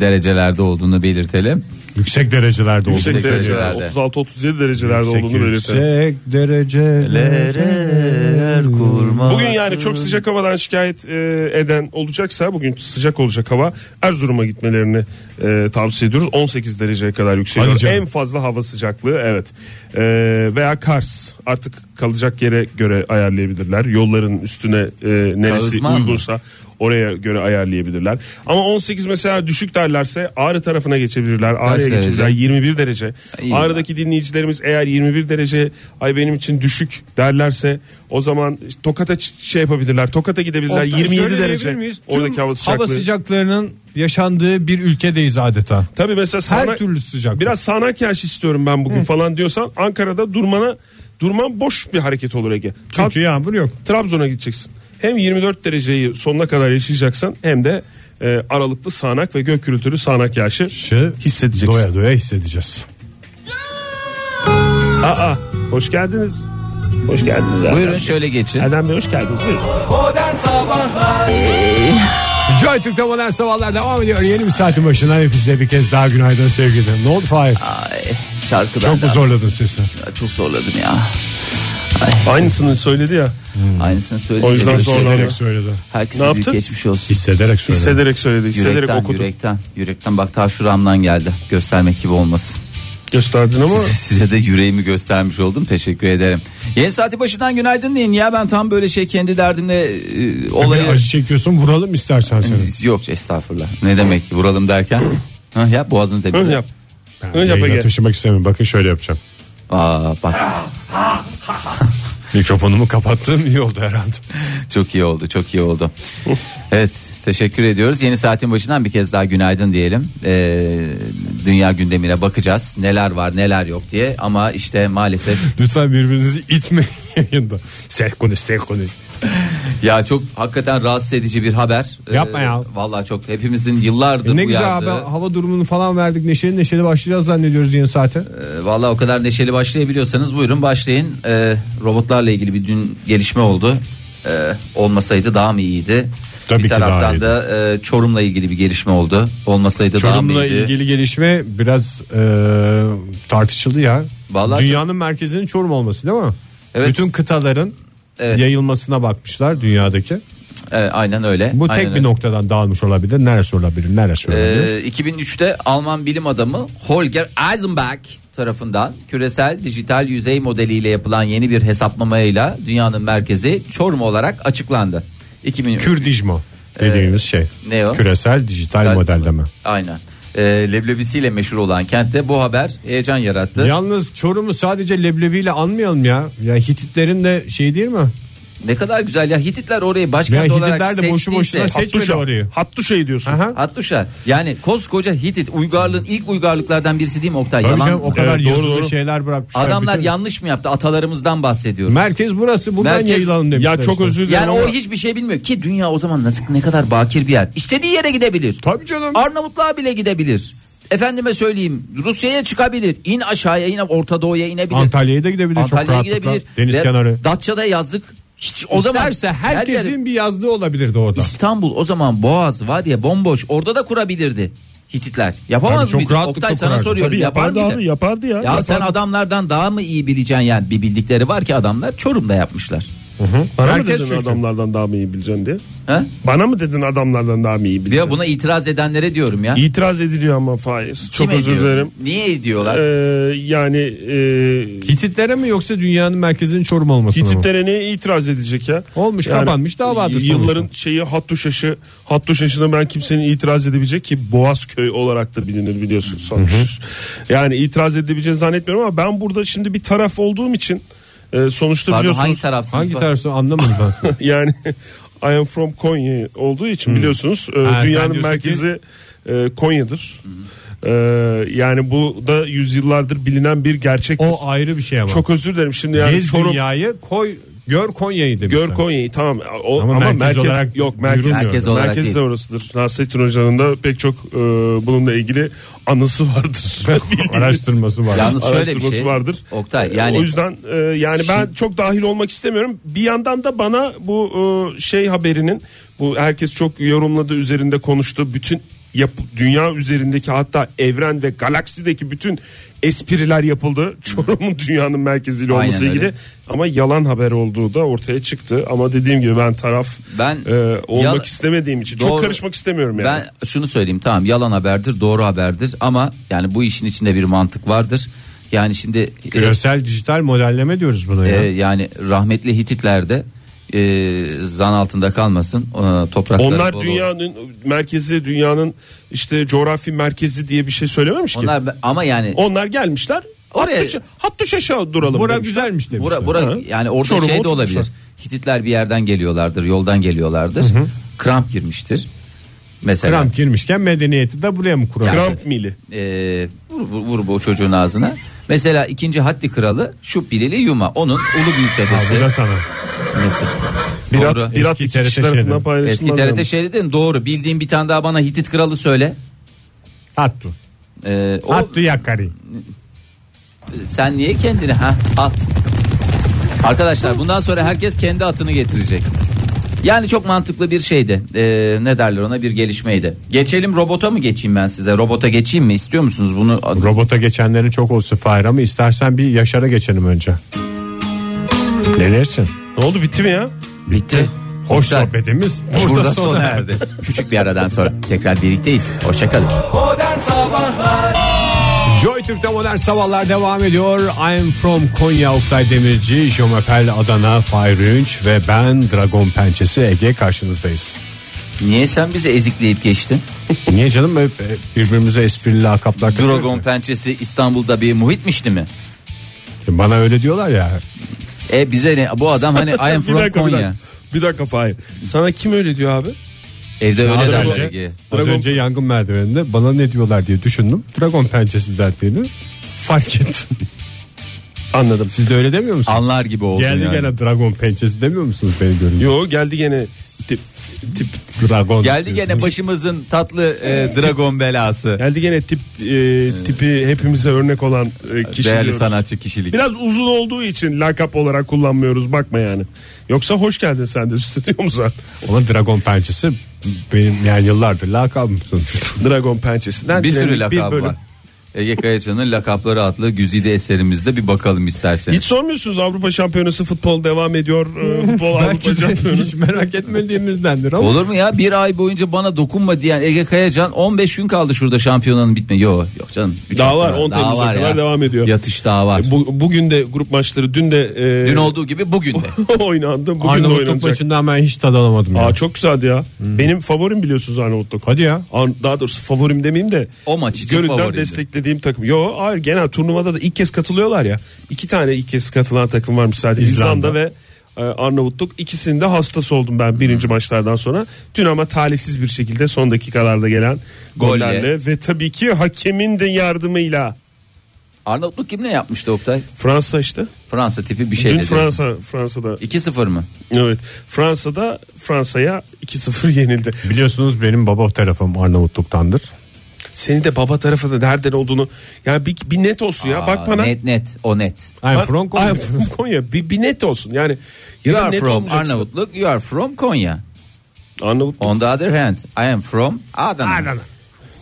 [SPEAKER 4] derecelerde olduğunu belirtelim.
[SPEAKER 2] Yüksek derecelerde
[SPEAKER 3] Yüksek
[SPEAKER 4] Yüksek
[SPEAKER 3] dereceler.
[SPEAKER 4] derecelerde.
[SPEAKER 3] 36-37 derecelerde olduğunu belirtelim.
[SPEAKER 2] Yüksek dereceler kurma.
[SPEAKER 3] Bugün yani çok sıcak havadan şikayet e, eden olacaksa bugün sıcak olacak hava Erzurum'a gitmelerini e, tavsiye ediyoruz. 18 dereceye kadar yükseliyor.
[SPEAKER 2] Hadi canım.
[SPEAKER 3] En fazla hava sıcaklığı evet. E, veya Kars artık kalacak yere göre ayarlayabilirler. Yolların üstüne e, neresi
[SPEAKER 4] Kağızman mı?
[SPEAKER 3] uygunsa Oraya göre ayarlayabilirler. Ama 18 mesela düşük derlerse Ağrı tarafına geçebilirler. Ağrı'ya
[SPEAKER 4] derece?
[SPEAKER 3] geçebilirler. 21 derece.
[SPEAKER 4] İyi
[SPEAKER 3] Ağrı'daki dinleyicilerimiz eğer 21 derece ay benim için düşük derlerse o zaman Tokat'a ç- şey yapabilirler. Tokat'a gidebilirler.
[SPEAKER 2] Oktay,
[SPEAKER 3] 27
[SPEAKER 2] şöyle
[SPEAKER 3] derece.
[SPEAKER 2] diyebilir miyiz? Tüm
[SPEAKER 3] Oradaki hava sıcaklığı.
[SPEAKER 2] sıcaklarının yaşandığı bir ülkedeyiz adeta.
[SPEAKER 3] Tabii mesela
[SPEAKER 2] Her
[SPEAKER 3] sana-
[SPEAKER 2] türlü sıcaklık.
[SPEAKER 3] Biraz sağanak yağış istiyorum ben bugün falan diyorsan Ankara'da durmana durman boş bir hareket olur Ege. Kalk
[SPEAKER 2] Çünkü yağmur yok.
[SPEAKER 3] Trabzon'a gideceksin. Hem 24 dereceyi sonuna kadar yaşayacaksan hem de e, aralıklı sağanak ve gök gürültülü sağanak yağışı
[SPEAKER 2] Şı
[SPEAKER 3] hissedeceksin.
[SPEAKER 2] Doya doya hissedeceğiz.
[SPEAKER 3] Aa, hoş geldiniz. Hoş geldiniz. abi.
[SPEAKER 4] Buyurun şöyle geçin.
[SPEAKER 3] Adem Bey hoş geldiniz. Buyurun.
[SPEAKER 2] Joy Türk'te modern sabahlar devam ediyor. Yeni bir saatin başına hepinize bir kez daha günaydın sevgili. Ne oldu Fahir?
[SPEAKER 4] Ay, şarkı
[SPEAKER 2] Çok
[SPEAKER 4] ben de-
[SPEAKER 2] mu zorladın sesi?
[SPEAKER 4] Çok zorladım ya.
[SPEAKER 3] Aynısını söyledi ya.
[SPEAKER 4] Aynısını söyleyecek.
[SPEAKER 3] O yüzden
[SPEAKER 4] bir şey
[SPEAKER 3] zorlandı.
[SPEAKER 4] yok.
[SPEAKER 2] Hissederek söyledi.
[SPEAKER 4] Herkese
[SPEAKER 3] Ne
[SPEAKER 4] büyük
[SPEAKER 3] yaptın?
[SPEAKER 4] geçmiş olsun.
[SPEAKER 2] Hissederek söyledi.
[SPEAKER 3] Hissederek söyledi. Hissederek
[SPEAKER 4] yürekten,
[SPEAKER 3] okudu.
[SPEAKER 4] yürekten, yürekten bak ta şuramdan geldi. Göstermek gibi olmasın.
[SPEAKER 3] Gösterdin ama
[SPEAKER 4] Size de yüreğimi göstermiş oldum. Teşekkür ederim. Yeni saati başından günaydın deyin. Ya ben tam böyle şey kendi derdimle e, olayı...
[SPEAKER 3] Hani
[SPEAKER 2] Bir acı çekiyorsun vuralım istersen seni.
[SPEAKER 4] Yok estağfurullah. Ne demek vuralım derken? Hah yap boğazını
[SPEAKER 3] ön
[SPEAKER 4] temizle.
[SPEAKER 3] yap.
[SPEAKER 2] Ben
[SPEAKER 3] Ön yap
[SPEAKER 2] yayına
[SPEAKER 3] Ege.
[SPEAKER 2] taşımak istemiyorum. Bakın şöyle yapacağım.
[SPEAKER 4] Aa, bak
[SPEAKER 2] Mikrofonumu kapattığım iyi oldu herhalde.
[SPEAKER 4] çok iyi oldu çok iyi oldu. evet teşekkür ediyoruz. Yeni saatin başından bir kez daha günaydın diyelim. Ee, dünya gündemine bakacağız. Neler var neler yok diye. Ama işte maalesef
[SPEAKER 2] Lütfen birbirinizi itmeyin yayında. Sen konuş sen konuş.
[SPEAKER 4] Ya çok hakikaten rahatsız edici bir haber. Ee,
[SPEAKER 2] Yapma ya. E,
[SPEAKER 4] Vallahi çok hepimizin yıllardır
[SPEAKER 2] Ne
[SPEAKER 4] ne
[SPEAKER 2] güzel abi
[SPEAKER 4] uyardığı.
[SPEAKER 2] hava durumunu falan verdik. Neşeli neşeli başlayacağız zannediyoruz yeni saate.
[SPEAKER 4] Ee, Vallahi o kadar neşeli başlayabiliyorsanız buyurun başlayın. Ee, robotlarla ilgili bir dün gelişme oldu. Ee, olmasaydı daha mı iyiydi?
[SPEAKER 2] Tabii
[SPEAKER 4] bir
[SPEAKER 2] ki daha
[SPEAKER 4] taraftan
[SPEAKER 2] iyiydi.
[SPEAKER 4] da e, Çorum'la ilgili bir gelişme oldu. Olmasaydı daha mı
[SPEAKER 2] Çorum'la
[SPEAKER 4] iyiydi?
[SPEAKER 2] ilgili gelişme biraz e, tartışıldı ya.
[SPEAKER 4] Vallahi
[SPEAKER 2] Dünyanın merkezinin Çorum olması değil mi?
[SPEAKER 4] Evet.
[SPEAKER 2] Bütün kıtaların
[SPEAKER 4] Evet.
[SPEAKER 2] yayılmasına bakmışlar dünyadaki.
[SPEAKER 4] Ee, aynen öyle.
[SPEAKER 2] Bu
[SPEAKER 4] aynen
[SPEAKER 2] tek bir
[SPEAKER 4] öyle.
[SPEAKER 2] noktadan dağılmış olabilir. Neresi olabilir? Neresi olabilir?
[SPEAKER 4] Ee, 2003'te Alman bilim adamı Holger Eisenberg tarafından küresel dijital yüzey modeliyle yapılan yeni bir hesaplamayla dünyanın merkezi Çorum olarak açıklandı. 2003
[SPEAKER 2] Kürdijmo dediğimiz şey.
[SPEAKER 4] ne o?
[SPEAKER 2] Küresel dijital modelleme.
[SPEAKER 4] Aynen. Ee, leblebisiyle meşhur olan kentte bu haber heyecan yarattı.
[SPEAKER 2] Yalnız Çorum'u sadece leblebiyle anmayalım ya. Ya Hititlerin de şey değil mi?
[SPEAKER 4] Ne kadar güzel ya Hititler orayı
[SPEAKER 2] Ya
[SPEAKER 4] başkent olarak
[SPEAKER 2] Hititler de boşu boşuna
[SPEAKER 4] seçtiyse-
[SPEAKER 2] seçmedi
[SPEAKER 3] Hattuşa.
[SPEAKER 2] orayı.
[SPEAKER 3] Hattuşa'yı şey diyorsun.
[SPEAKER 2] Aha.
[SPEAKER 4] Hattuşa yani koskoca Hitit uygarlığın ilk uygarlıklardan birisi değil mi Oktay?
[SPEAKER 2] Tabii
[SPEAKER 4] Yalan
[SPEAKER 2] canım, o
[SPEAKER 4] mı?
[SPEAKER 2] kadar
[SPEAKER 3] Evet, doğru,
[SPEAKER 2] yazılı
[SPEAKER 3] doğru.
[SPEAKER 2] şeyler bırakmışlar.
[SPEAKER 4] Adamlar
[SPEAKER 2] Bütün-
[SPEAKER 4] yanlış mı yaptı? Atalarımızdan bahsediyoruz.
[SPEAKER 2] Merkez burası buradan
[SPEAKER 4] Merkez-
[SPEAKER 2] yayılalım demişler.
[SPEAKER 3] Ya çok
[SPEAKER 2] işte.
[SPEAKER 3] özür dilerim
[SPEAKER 4] Yani
[SPEAKER 3] ama
[SPEAKER 4] o hiçbir şey bilmiyor ki dünya o zaman nasıl ne kadar bakir bir yer. İstediği yere gidebilir.
[SPEAKER 2] Tabii canım.
[SPEAKER 4] Arnavutluğa bile gidebilir. Efendime söyleyeyim Rusya'ya çıkabilir. İn aşağıya in Orta Doğu'ya inebilir.
[SPEAKER 2] Antalya'ya da gidebilir çok
[SPEAKER 4] Antalya'ya
[SPEAKER 2] rahatlıkla.
[SPEAKER 4] gidebilir.
[SPEAKER 2] Deniz
[SPEAKER 4] Ve
[SPEAKER 2] kenarı.
[SPEAKER 4] Datça'da yazdık. Hiç o
[SPEAKER 2] O
[SPEAKER 4] zaman
[SPEAKER 2] İsterse herkesin
[SPEAKER 4] her yer-
[SPEAKER 2] bir yazdığı olabilirdi orada.
[SPEAKER 4] İstanbul o zaman Boğaz var ya bomboş. Orada da kurabilirdi Hititler. Yapamaz
[SPEAKER 2] Yani çok
[SPEAKER 4] mıydı?
[SPEAKER 2] rahatlıkla
[SPEAKER 4] Oktay sana
[SPEAKER 2] kurardı.
[SPEAKER 4] soruyorum.
[SPEAKER 3] Tabii
[SPEAKER 4] yapar
[SPEAKER 3] yapardı
[SPEAKER 4] mıydı?
[SPEAKER 3] abi yapardı ya.
[SPEAKER 4] Ya sen adamlardan daha mı iyi bileceksin yani bir bildikleri var ki adamlar Çorum'da yapmışlar.
[SPEAKER 3] Bana mı
[SPEAKER 2] Herkes
[SPEAKER 3] dedin
[SPEAKER 2] çünkü.
[SPEAKER 3] adamlardan daha mı iyi bileceksin diye?
[SPEAKER 4] Ha?
[SPEAKER 3] Bana mı dedin adamlardan daha mı iyi bileceksin?
[SPEAKER 4] Ya buna itiraz edenlere diyorum ya.
[SPEAKER 3] İtiraz ediliyor ama Faiz. Çok
[SPEAKER 4] Kim
[SPEAKER 3] özür
[SPEAKER 4] ediyor?
[SPEAKER 3] dilerim.
[SPEAKER 4] Niye ediyorlar?
[SPEAKER 3] Ee, yani e,
[SPEAKER 2] Hititlere mi yoksa dünyanın merkezinin Çorum olmasına mı?
[SPEAKER 3] Hititlere neye itiraz edecek ya?
[SPEAKER 2] Olmuş, kapanmış davadır sonuçta.
[SPEAKER 3] Yılların şeyi Hattuşaş'ı Hattuşaş'ına ben kimsenin itiraz edebilecek ki Boğazköy olarak da bilinir biliyorsunuz. Hattuşaş. Yani itiraz edebileceğini zannetmiyorum ama ben burada şimdi bir taraf olduğum için e, sonuçta
[SPEAKER 4] Pardon hangi
[SPEAKER 3] biliyorsunuz.
[SPEAKER 4] tarafsınız?
[SPEAKER 2] Hangi
[SPEAKER 4] Bak-
[SPEAKER 2] tarafı anlamadım ben.
[SPEAKER 3] yani I am from Konya olduğu için biliyorsunuz e,
[SPEAKER 2] Ha, sen
[SPEAKER 3] dünyanın
[SPEAKER 2] diyorsun ki-
[SPEAKER 3] merkezi e, Konya'dır. E, yani bu da yüzyıllardır bilinen bir gerçek.
[SPEAKER 2] O ayrı bir şey ama.
[SPEAKER 3] Çok özür dilerim şimdi yani
[SPEAKER 2] Gez
[SPEAKER 3] Çorum
[SPEAKER 2] dünyayı koy gör Konya'yı demişler.
[SPEAKER 3] Gör Konya'yı tamam o,
[SPEAKER 2] Ama
[SPEAKER 3] ama,
[SPEAKER 2] merkez
[SPEAKER 3] merkez,
[SPEAKER 2] olarak
[SPEAKER 3] yok merkez
[SPEAKER 2] duyurulmuyor.
[SPEAKER 4] Merkez olarak
[SPEAKER 3] merkez de
[SPEAKER 4] değil.
[SPEAKER 3] orasıdır. Nasrettin Hoca'nın da pek çok e, bununla ilgili anısı vardır. Bildiğiniz
[SPEAKER 2] Araştırması var.
[SPEAKER 4] Yalnız şöyle bir
[SPEAKER 3] araştırması
[SPEAKER 4] şey.
[SPEAKER 3] vardır.
[SPEAKER 4] Oktay
[SPEAKER 3] E,
[SPEAKER 4] yani
[SPEAKER 3] o yüzden e, yani ben çok dahil olmak istemiyorum. Bir yandan da bana bu e, şey haberinin bu herkes çok yorumladı üzerinde konuştu bütün yapı, dünya üzerindeki hatta evren ve galaksideki bütün espriler yapıldı. Çorum'un dünyanın merkeziyle
[SPEAKER 4] Aynen
[SPEAKER 3] olması ilgili
[SPEAKER 4] öyle.
[SPEAKER 3] ama yalan haber olduğu da ortaya çıktı. Ama dediğim gibi ben taraf
[SPEAKER 4] Ben-
[SPEAKER 3] e, olmak
[SPEAKER 4] Yal-
[SPEAKER 3] istemediğim için
[SPEAKER 4] Doğru.
[SPEAKER 3] çok karışmak istemiyorum yani.
[SPEAKER 4] ben şunu söyleyeyim tamam yalan haberdir doğru haberdir ama yani bu işin içinde bir mantık vardır. Yani şimdi e,
[SPEAKER 2] Küresel dijital modelleme diyoruz buna
[SPEAKER 4] e,
[SPEAKER 2] ya.
[SPEAKER 4] yani rahmetli Hititler'de e, zan altında kalmasın. Ee, toprakları
[SPEAKER 3] Onlar
[SPEAKER 4] bol olsun.
[SPEAKER 3] dünyanın merkezi, dünyanın işte coğrafi merkezi diye bir şey söylememiş ki. Onlar,
[SPEAKER 4] Onlar ama yani
[SPEAKER 3] gelmişler.
[SPEAKER 4] Oraya-
[SPEAKER 3] Oraya hattuş, hattuş aşağı duralım.
[SPEAKER 2] Bura
[SPEAKER 3] demişler.
[SPEAKER 2] güzelmiş demiş.
[SPEAKER 4] bura, bura
[SPEAKER 3] Ha.
[SPEAKER 4] yani orada
[SPEAKER 3] Çorum'a
[SPEAKER 4] şey de
[SPEAKER 3] oturmuşlar.
[SPEAKER 4] olabilir. Hititler bir yerden geliyorlardır, yoldan geliyorlardır. Kramp girmiştir. Mesela
[SPEAKER 2] Kramp girmişken medeniyeti de buraya mı kurar?
[SPEAKER 3] Kramp mili.
[SPEAKER 4] e, vur, vur, vur bu çocuğun ağzına. Mesela ikinci Hatti Kralı şu Bilili Yuma. Onun Ulu Büyük Tepesi.
[SPEAKER 2] Burada sana.
[SPEAKER 4] Mesela.
[SPEAKER 3] Birat,
[SPEAKER 4] Doğru.
[SPEAKER 3] Birat
[SPEAKER 2] Eski
[SPEAKER 3] iki
[SPEAKER 2] TRT
[SPEAKER 3] kişi tarafından
[SPEAKER 2] şeridi.
[SPEAKER 4] Eski
[SPEAKER 3] paylaşılmaz.
[SPEAKER 4] TRT
[SPEAKER 3] yani.
[SPEAKER 4] şeridin doğru. Bildiğin bir tane daha bana Hitit Kralı söyle.
[SPEAKER 2] Hattu.
[SPEAKER 4] Ee, o,
[SPEAKER 2] Hattu yakari.
[SPEAKER 4] sen niye kendini ha al. Arkadaşlar bundan sonra herkes kendi atını getirecek. Yani çok mantıklı bir şeydi. Ee, ne derler ona bir gelişmeydi. Geçelim robota mı geçeyim ben size? Robota geçeyim mi? İstiyor musunuz bunu?
[SPEAKER 2] Robota geçenlerin çok olsun Fahir ama istersen bir Yaşar'a geçelim önce. Ne dersin?
[SPEAKER 3] Ne oldu bitti mi ya?
[SPEAKER 4] Bitti.
[SPEAKER 2] Hoş
[SPEAKER 4] Güzel.
[SPEAKER 2] sohbetimiz
[SPEAKER 4] Burada,
[SPEAKER 2] burada,
[SPEAKER 4] sona,
[SPEAKER 2] sona erdi.
[SPEAKER 4] erdi. Küçük bir aradan sonra tekrar birlikteyiz. Hoşçakalın.
[SPEAKER 2] Joy Türk'te modern sabahlar devam ediyor. I'm from Konya Oktay Demirci, Jomapel Adana, Fahir Ünç ve ben Dragon Pençesi Ege karşınızdayız.
[SPEAKER 4] Niye sen bizi ezikleyip geçtin?
[SPEAKER 2] Niye canım hep hep birbirimize esprili lakaplar takıyoruz
[SPEAKER 4] Dragon
[SPEAKER 2] ya.
[SPEAKER 4] pençesi İstanbul'da bir muhitmişti mi?
[SPEAKER 2] Bana öyle diyorlar ya.
[SPEAKER 4] E bize ne? Bu adam hani I am
[SPEAKER 3] bir
[SPEAKER 4] from
[SPEAKER 3] dakika, bir
[SPEAKER 4] Konya.
[SPEAKER 3] dakika. Bir dakika Fahir. Sana kim öyle diyor abi?
[SPEAKER 4] Evde
[SPEAKER 2] Az
[SPEAKER 4] öyle derler.
[SPEAKER 2] önce,
[SPEAKER 4] Ege.
[SPEAKER 2] az
[SPEAKER 3] Dragon-
[SPEAKER 2] önce yangın merdiveninde bana ne diyorlar diye düşündüm. Dragon Pençesi dertlerini fark ettim.
[SPEAKER 3] Anladım.
[SPEAKER 2] Siz de öyle demiyor musunuz?
[SPEAKER 4] Anlar gibi oldu
[SPEAKER 2] Geldi
[SPEAKER 4] yani.
[SPEAKER 2] gene Dragon Pençesi demiyor musunuz beni görünce?
[SPEAKER 3] Yo geldi gene tip tip
[SPEAKER 2] Dragon.
[SPEAKER 4] Geldi gene
[SPEAKER 2] diyorsunuz.
[SPEAKER 4] başımızın tatlı e, dragon belası.
[SPEAKER 3] geldi gene tip e, tipi hepimize örnek olan e, kişi
[SPEAKER 4] Değerli
[SPEAKER 3] diyoruz.
[SPEAKER 4] sanatçı kişilik.
[SPEAKER 3] Biraz uzun olduğu için lakap olarak kullanmıyoruz bakma yani. Yoksa hoş geldin sen de stüdyomuza.
[SPEAKER 2] Ama Dragon Pençesi benim yani yıllardır lakabım sonuçta.
[SPEAKER 3] Dragon pençesinden
[SPEAKER 4] bir sürü
[SPEAKER 3] dilerim,
[SPEAKER 4] lakabı
[SPEAKER 3] bölüm.
[SPEAKER 4] var. Ege Kayacan'ın lakapları adlı güzide eserimizde bir bakalım isterseniz.
[SPEAKER 3] Hiç sormuyorsunuz Avrupa Şampiyonası futbol devam ediyor. Ee, Futbol Avrupa
[SPEAKER 2] Belki de
[SPEAKER 3] Şampiyonası.
[SPEAKER 2] hiç merak etmediğimizdendir ama.
[SPEAKER 4] Olur mu ya bir ay boyunca bana dokunma diyen Ege Kayacan 15 gün kaldı şurada şampiyonanın bitme. Yok yok canım. Üç
[SPEAKER 3] Daha
[SPEAKER 4] hafta
[SPEAKER 3] var, 10 Temmuz'a kadar devam ediyor. E,
[SPEAKER 4] Yatış daha var.
[SPEAKER 3] Bu, bugün de grup maçları dün de e,
[SPEAKER 4] Dün olduğu gibi bugün de.
[SPEAKER 3] oynandı. Bugün de
[SPEAKER 2] Arnavutluk
[SPEAKER 3] oynanacak.
[SPEAKER 2] maçından ben hiç tad alamadım ya.
[SPEAKER 3] Aa, çok güzeldi ya. Hmm. Benim favorim biliyorsunuz Arnavutluk.
[SPEAKER 2] Hadi ya.
[SPEAKER 3] Ar- Daha doğrusu favorim demeyeyim de.
[SPEAKER 4] O maç için
[SPEAKER 3] Gönülden
[SPEAKER 4] favorimdi.
[SPEAKER 3] desteklediğim takım. Yo hayır genel turnuvada da ilk kez katılıyorlar ya. İki tane ilk kez katılan takım varmış sadece.
[SPEAKER 2] İzlanda.
[SPEAKER 3] İzlanda, ve e, Arnavutluk. İkisinde hastası oldum ben birinci maçlardan sonra. Dün ama talihsiz bir şekilde son dakikalarda gelen
[SPEAKER 4] Golle.
[SPEAKER 3] gollerle ve tabii ki hakemin de yardımıyla.
[SPEAKER 4] Arnavutluk kim ne yapmıştı Oktay?
[SPEAKER 3] Fransa işte.
[SPEAKER 4] Fransa tipi bir şey
[SPEAKER 3] Dün
[SPEAKER 4] dedi.
[SPEAKER 3] Fransa Fransa'da
[SPEAKER 4] 2-0 mı?
[SPEAKER 3] evet. Fransa'da Fransa'ya 2-0 yenildi.
[SPEAKER 2] Biliyorsunuz benim baba tarafım Arnavutluk'tandır.
[SPEAKER 3] Seni de baba tarafında nereden olduğunu ya bir, bir net olsun ya.
[SPEAKER 4] Aa,
[SPEAKER 3] Bak bana.
[SPEAKER 4] Net net o net.
[SPEAKER 2] I'm from Konya.
[SPEAKER 3] Ay, from Konya. Bir, bir net olsun yani. Ya
[SPEAKER 4] You
[SPEAKER 3] da
[SPEAKER 4] are
[SPEAKER 3] net
[SPEAKER 4] from
[SPEAKER 3] olmayacaksın.
[SPEAKER 4] Arnavutluk, you are from Konya.
[SPEAKER 3] Arnavut.
[SPEAKER 4] On the other hand, I am from Adana.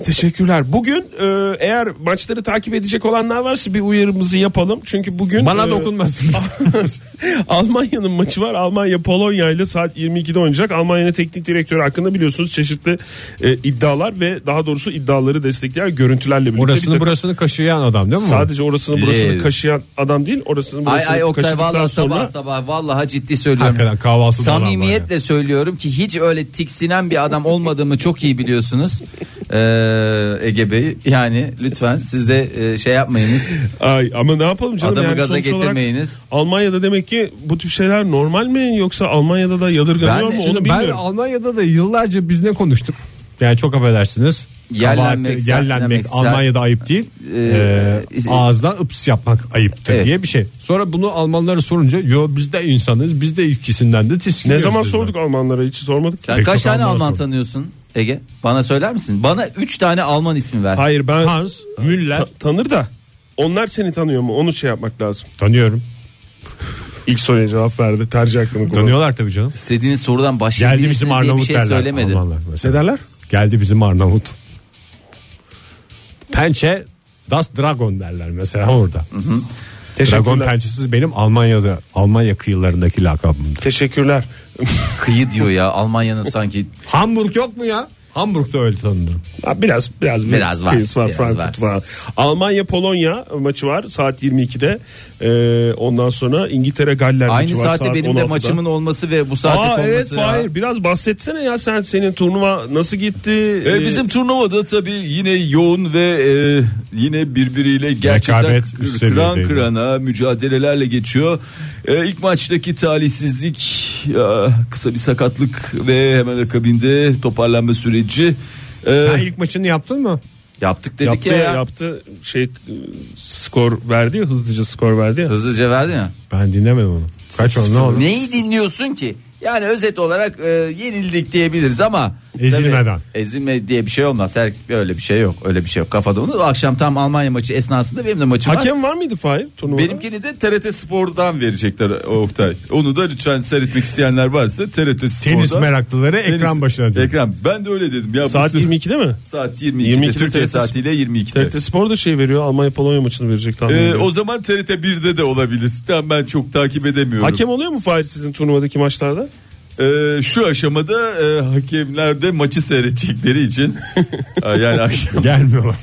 [SPEAKER 3] Teşekkürler. Bugün e, eğer maçları takip edecek olanlar varsa bir uyarımızı yapalım. Çünkü bugün
[SPEAKER 2] Bana
[SPEAKER 3] e,
[SPEAKER 2] dokunmasın.
[SPEAKER 3] Almanya'nın maçı var. Almanya Polonya ile saat 22'de oynayacak. Almanya'nın teknik direktörü hakkında biliyorsunuz çeşitli e, iddialar ve daha doğrusu iddiaları destekleyen görüntülerle birlikte bir
[SPEAKER 2] Orasını
[SPEAKER 3] takım-
[SPEAKER 2] burasını kaşıyan adam değil mi?
[SPEAKER 3] Sadece orasını burasını
[SPEAKER 4] Lev.
[SPEAKER 3] kaşıyan adam değil, orasını burasını
[SPEAKER 4] Ay ay Oktay
[SPEAKER 3] kaşıdıktan
[SPEAKER 4] vallahi
[SPEAKER 3] sonra
[SPEAKER 4] sabah sabah vallahi ciddi söylüyorum.
[SPEAKER 2] Hakikaten kahvaltı da olan var
[SPEAKER 4] Samimiyetle söylüyorum ki hiç öyle tiksinen bir adam olmadığımı çok iyi biliyorsunuz. Ee, Ege Bey yani lütfen siz de e, şey yapmayınız.
[SPEAKER 3] Ay ama ne yapalım canım?
[SPEAKER 4] Adamı gaza
[SPEAKER 3] sonuç olarak
[SPEAKER 4] getirmeyiniz.
[SPEAKER 3] Almanya'da demek ki bu tip şeyler normal mi yoksa Almanya'da da yadırganıyor
[SPEAKER 4] Ben-
[SPEAKER 3] mu onu
[SPEAKER 2] Şimdi ben
[SPEAKER 3] bilmiyorum.
[SPEAKER 2] Almanya'da da yıllarca biz ne konuştuk? Yani çok affedersiniz.
[SPEAKER 4] Yerlenmek,
[SPEAKER 2] Kabahat- yerlenmek
[SPEAKER 4] sertlenmek,
[SPEAKER 2] Almanya'da ayıp değil.
[SPEAKER 4] Ee,
[SPEAKER 2] Ee, ağızdan ıps yapmak ayıptır
[SPEAKER 4] Evet.
[SPEAKER 2] diye bir şey. Sonra bunu Almanlara sorunca yo biz de insanız biz de ikisinden de
[SPEAKER 3] Ne
[SPEAKER 2] tiskiniyoruz.
[SPEAKER 3] zaman
[SPEAKER 2] dediler.
[SPEAKER 3] sorduk Almanlara hiç sormadık.
[SPEAKER 4] Sen
[SPEAKER 2] Pek
[SPEAKER 4] kaç
[SPEAKER 2] çok
[SPEAKER 4] tane
[SPEAKER 2] Alman'a
[SPEAKER 4] Alman
[SPEAKER 2] sor.
[SPEAKER 4] tanıyorsun Ege? Bana söyler misin? Bana 3 tane Alman ismi ver.
[SPEAKER 3] Hayır ben
[SPEAKER 2] Hans Müller
[SPEAKER 3] ta- tanır da onlar seni tanıyor mu onu şey yapmak lazım.
[SPEAKER 2] tanıyorum.
[SPEAKER 3] İlk soruya cevap verdi tercih hakkını kullanıyor.
[SPEAKER 2] Tanıyorlar tabii canım.
[SPEAKER 4] İstediğiniz sorudan başlayabilirsiniz
[SPEAKER 2] Geldi bizim
[SPEAKER 4] diye bir
[SPEAKER 2] Arnavut
[SPEAKER 4] şey
[SPEAKER 2] derler.
[SPEAKER 4] söylemedim.
[SPEAKER 2] Almanlar
[SPEAKER 3] Ne
[SPEAKER 2] mesela.
[SPEAKER 3] derler?
[SPEAKER 2] Geldi bizim Arnavut. Pençe Das Dragon derler mesela orada. Dragon
[SPEAKER 3] Teşekkürler.
[SPEAKER 2] pençesiz benim Almanya'da Almanya kıyılarındaki lakabımdır.
[SPEAKER 3] Teşekkürler.
[SPEAKER 4] Kıyı diyor ya Almanya'nın sanki
[SPEAKER 2] Hamburg yok mu ya? Hamburg'da öyle tanınırım.
[SPEAKER 3] Ha, Biraz biraz bir
[SPEAKER 4] Biraz var,
[SPEAKER 3] kıyısı var
[SPEAKER 4] biraz
[SPEAKER 3] Frankfurt var. Almanya Polonya maçı var saat 22'de. Ee, ondan sonra İngiltere Galler
[SPEAKER 4] Aynı
[SPEAKER 3] maçı var
[SPEAKER 4] saatte
[SPEAKER 3] saat
[SPEAKER 4] benim
[SPEAKER 3] 16'da.
[SPEAKER 4] de maçımın olması ve bu saatte
[SPEAKER 3] Aa
[SPEAKER 4] olması.
[SPEAKER 3] evet
[SPEAKER 4] ya.
[SPEAKER 3] Fahir biraz bahsetsene ya sen senin turnuva nasıl gitti?
[SPEAKER 4] E,
[SPEAKER 3] Ee,
[SPEAKER 4] bizim turnuvada tabii yine yoğun ve e, yine birbiriyle gerçekten
[SPEAKER 2] Rekabet
[SPEAKER 4] kır-
[SPEAKER 2] üst
[SPEAKER 4] kıran
[SPEAKER 2] seviyedeydi.
[SPEAKER 4] kırana mücadelelerle geçiyor. E, ilk maçtaki talihsizlik, ya, kısa bir sakatlık ve hemen akabinde toparlanma süreci. E,
[SPEAKER 2] Sen ilk maçını yaptın mı?
[SPEAKER 4] yaptık dedik
[SPEAKER 3] yaptı
[SPEAKER 4] ya.
[SPEAKER 3] yaptı şey e, skor verdi ya hızlıca skor verdi ya.
[SPEAKER 4] Hızlıca verdi ya.
[SPEAKER 2] Ben dinlemedim onu. Kaç on ne oldu?
[SPEAKER 4] Neyi dinliyorsun ki? Yani özet olarak e, yenildik diyebiliriz ama
[SPEAKER 2] Ezilmeden.
[SPEAKER 4] Tabii, ezilme diye bir şey olmaz. Her öyle bir şey yok. Öyle bir şey yok. Kafada onu. Akşam tam Almanya maçı esnasında benim de maçım var.
[SPEAKER 3] Hakem var mıydı Fahir turnuvada?
[SPEAKER 4] Benimkini de TRT Spor'dan verecekler Oktay. Onu da lütfen seyretmek isteyenler varsa TRT Spor'dan.
[SPEAKER 2] Tenis meraklıları
[SPEAKER 4] Tenis-
[SPEAKER 2] ekran başına diyor.
[SPEAKER 4] Ekran. Ben de öyle dedim. Ya
[SPEAKER 3] saat
[SPEAKER 4] bu-
[SPEAKER 3] 22'de mi?
[SPEAKER 4] saat 22'de.
[SPEAKER 3] 22'de
[SPEAKER 4] Türkiye
[SPEAKER 3] TRT
[SPEAKER 4] saatiyle 22'de.
[SPEAKER 3] TRT Spor da şey veriyor Almanya Polonya maçını verecek tahmin
[SPEAKER 4] Ee,
[SPEAKER 3] ediyorum.
[SPEAKER 4] o zaman TRT 1'de de olabilir. Tam ben çok takip edemiyorum.
[SPEAKER 3] Hakem oluyor mu Fahir sizin turnuvadaki maçlarda?
[SPEAKER 4] Ee, şu aşamada e, hakemler de maçı seyredecekleri için Ha, yani akşam
[SPEAKER 2] Gelmiyorlar.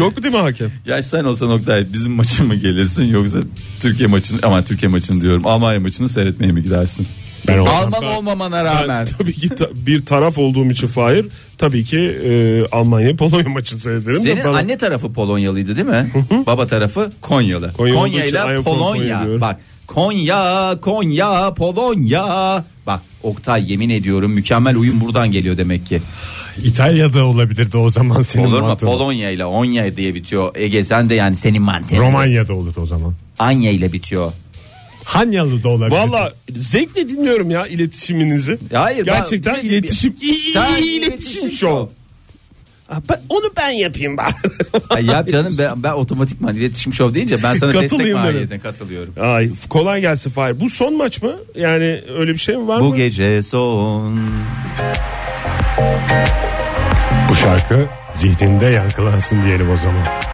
[SPEAKER 3] Yok değil mi hakem?
[SPEAKER 4] ya sen olsan Oktay bizim maçı mı gelirsin yoksa Türkiye maçını aman Türkiye maçını diyorum Almanya maçını seyretmeye mi gidersin?
[SPEAKER 2] Ben olsam-
[SPEAKER 4] Alman olmamana rağmen
[SPEAKER 3] tabii ki ta- bir taraf olduğum için Fahir tabii ki e, Almanya Polonya maçını seyrederim. de
[SPEAKER 4] Senin
[SPEAKER 3] bana-
[SPEAKER 4] anne tarafı Polonyalıydı değil mi? Baba tarafı Konyalı.
[SPEAKER 3] Konya olduğu
[SPEAKER 4] Konya
[SPEAKER 3] için I am
[SPEAKER 4] ile
[SPEAKER 3] from Konya
[SPEAKER 4] Polonya.
[SPEAKER 3] diyorum.
[SPEAKER 4] Bak Konya, Konya, Polonya. Bak Oktay yemin ediyorum mükemmel uyum buradan geliyor demek ki.
[SPEAKER 2] İtalya'da olabilirdi o zaman senin
[SPEAKER 4] Olur mu?
[SPEAKER 2] mantığın.
[SPEAKER 4] Polonya ile Onya diye bitiyor. Ege sen de yani senin mantığın.
[SPEAKER 2] Romanya'da olur o zaman.
[SPEAKER 4] Anya ile bitiyor.
[SPEAKER 2] Hanyalı da olabilir.
[SPEAKER 3] Valla zevkle dinliyorum ya iletişiminizi.
[SPEAKER 4] Hayır, ben-
[SPEAKER 3] Gerçekten
[SPEAKER 4] bir- bir-
[SPEAKER 3] iletişim. iyi, iyi,
[SPEAKER 4] Sen
[SPEAKER 3] iyi iletişim
[SPEAKER 4] iletişim
[SPEAKER 3] şu.
[SPEAKER 4] şov.
[SPEAKER 3] Ha, ben- onu ben yapayım bari.
[SPEAKER 4] Ay yap canım ben, ben otomatikman iletişim şov deyince ben sana destek
[SPEAKER 3] Katılayım dedim.
[SPEAKER 4] mahiyeten katılıyorum.
[SPEAKER 3] Ay kolay gelsin Fahir. Bu son maç mı? Yani öyle bir şey mi var
[SPEAKER 4] Bu
[SPEAKER 3] mı?
[SPEAKER 4] gece son.
[SPEAKER 2] Bu şarkı zihninde yankılansın diyelim o zaman.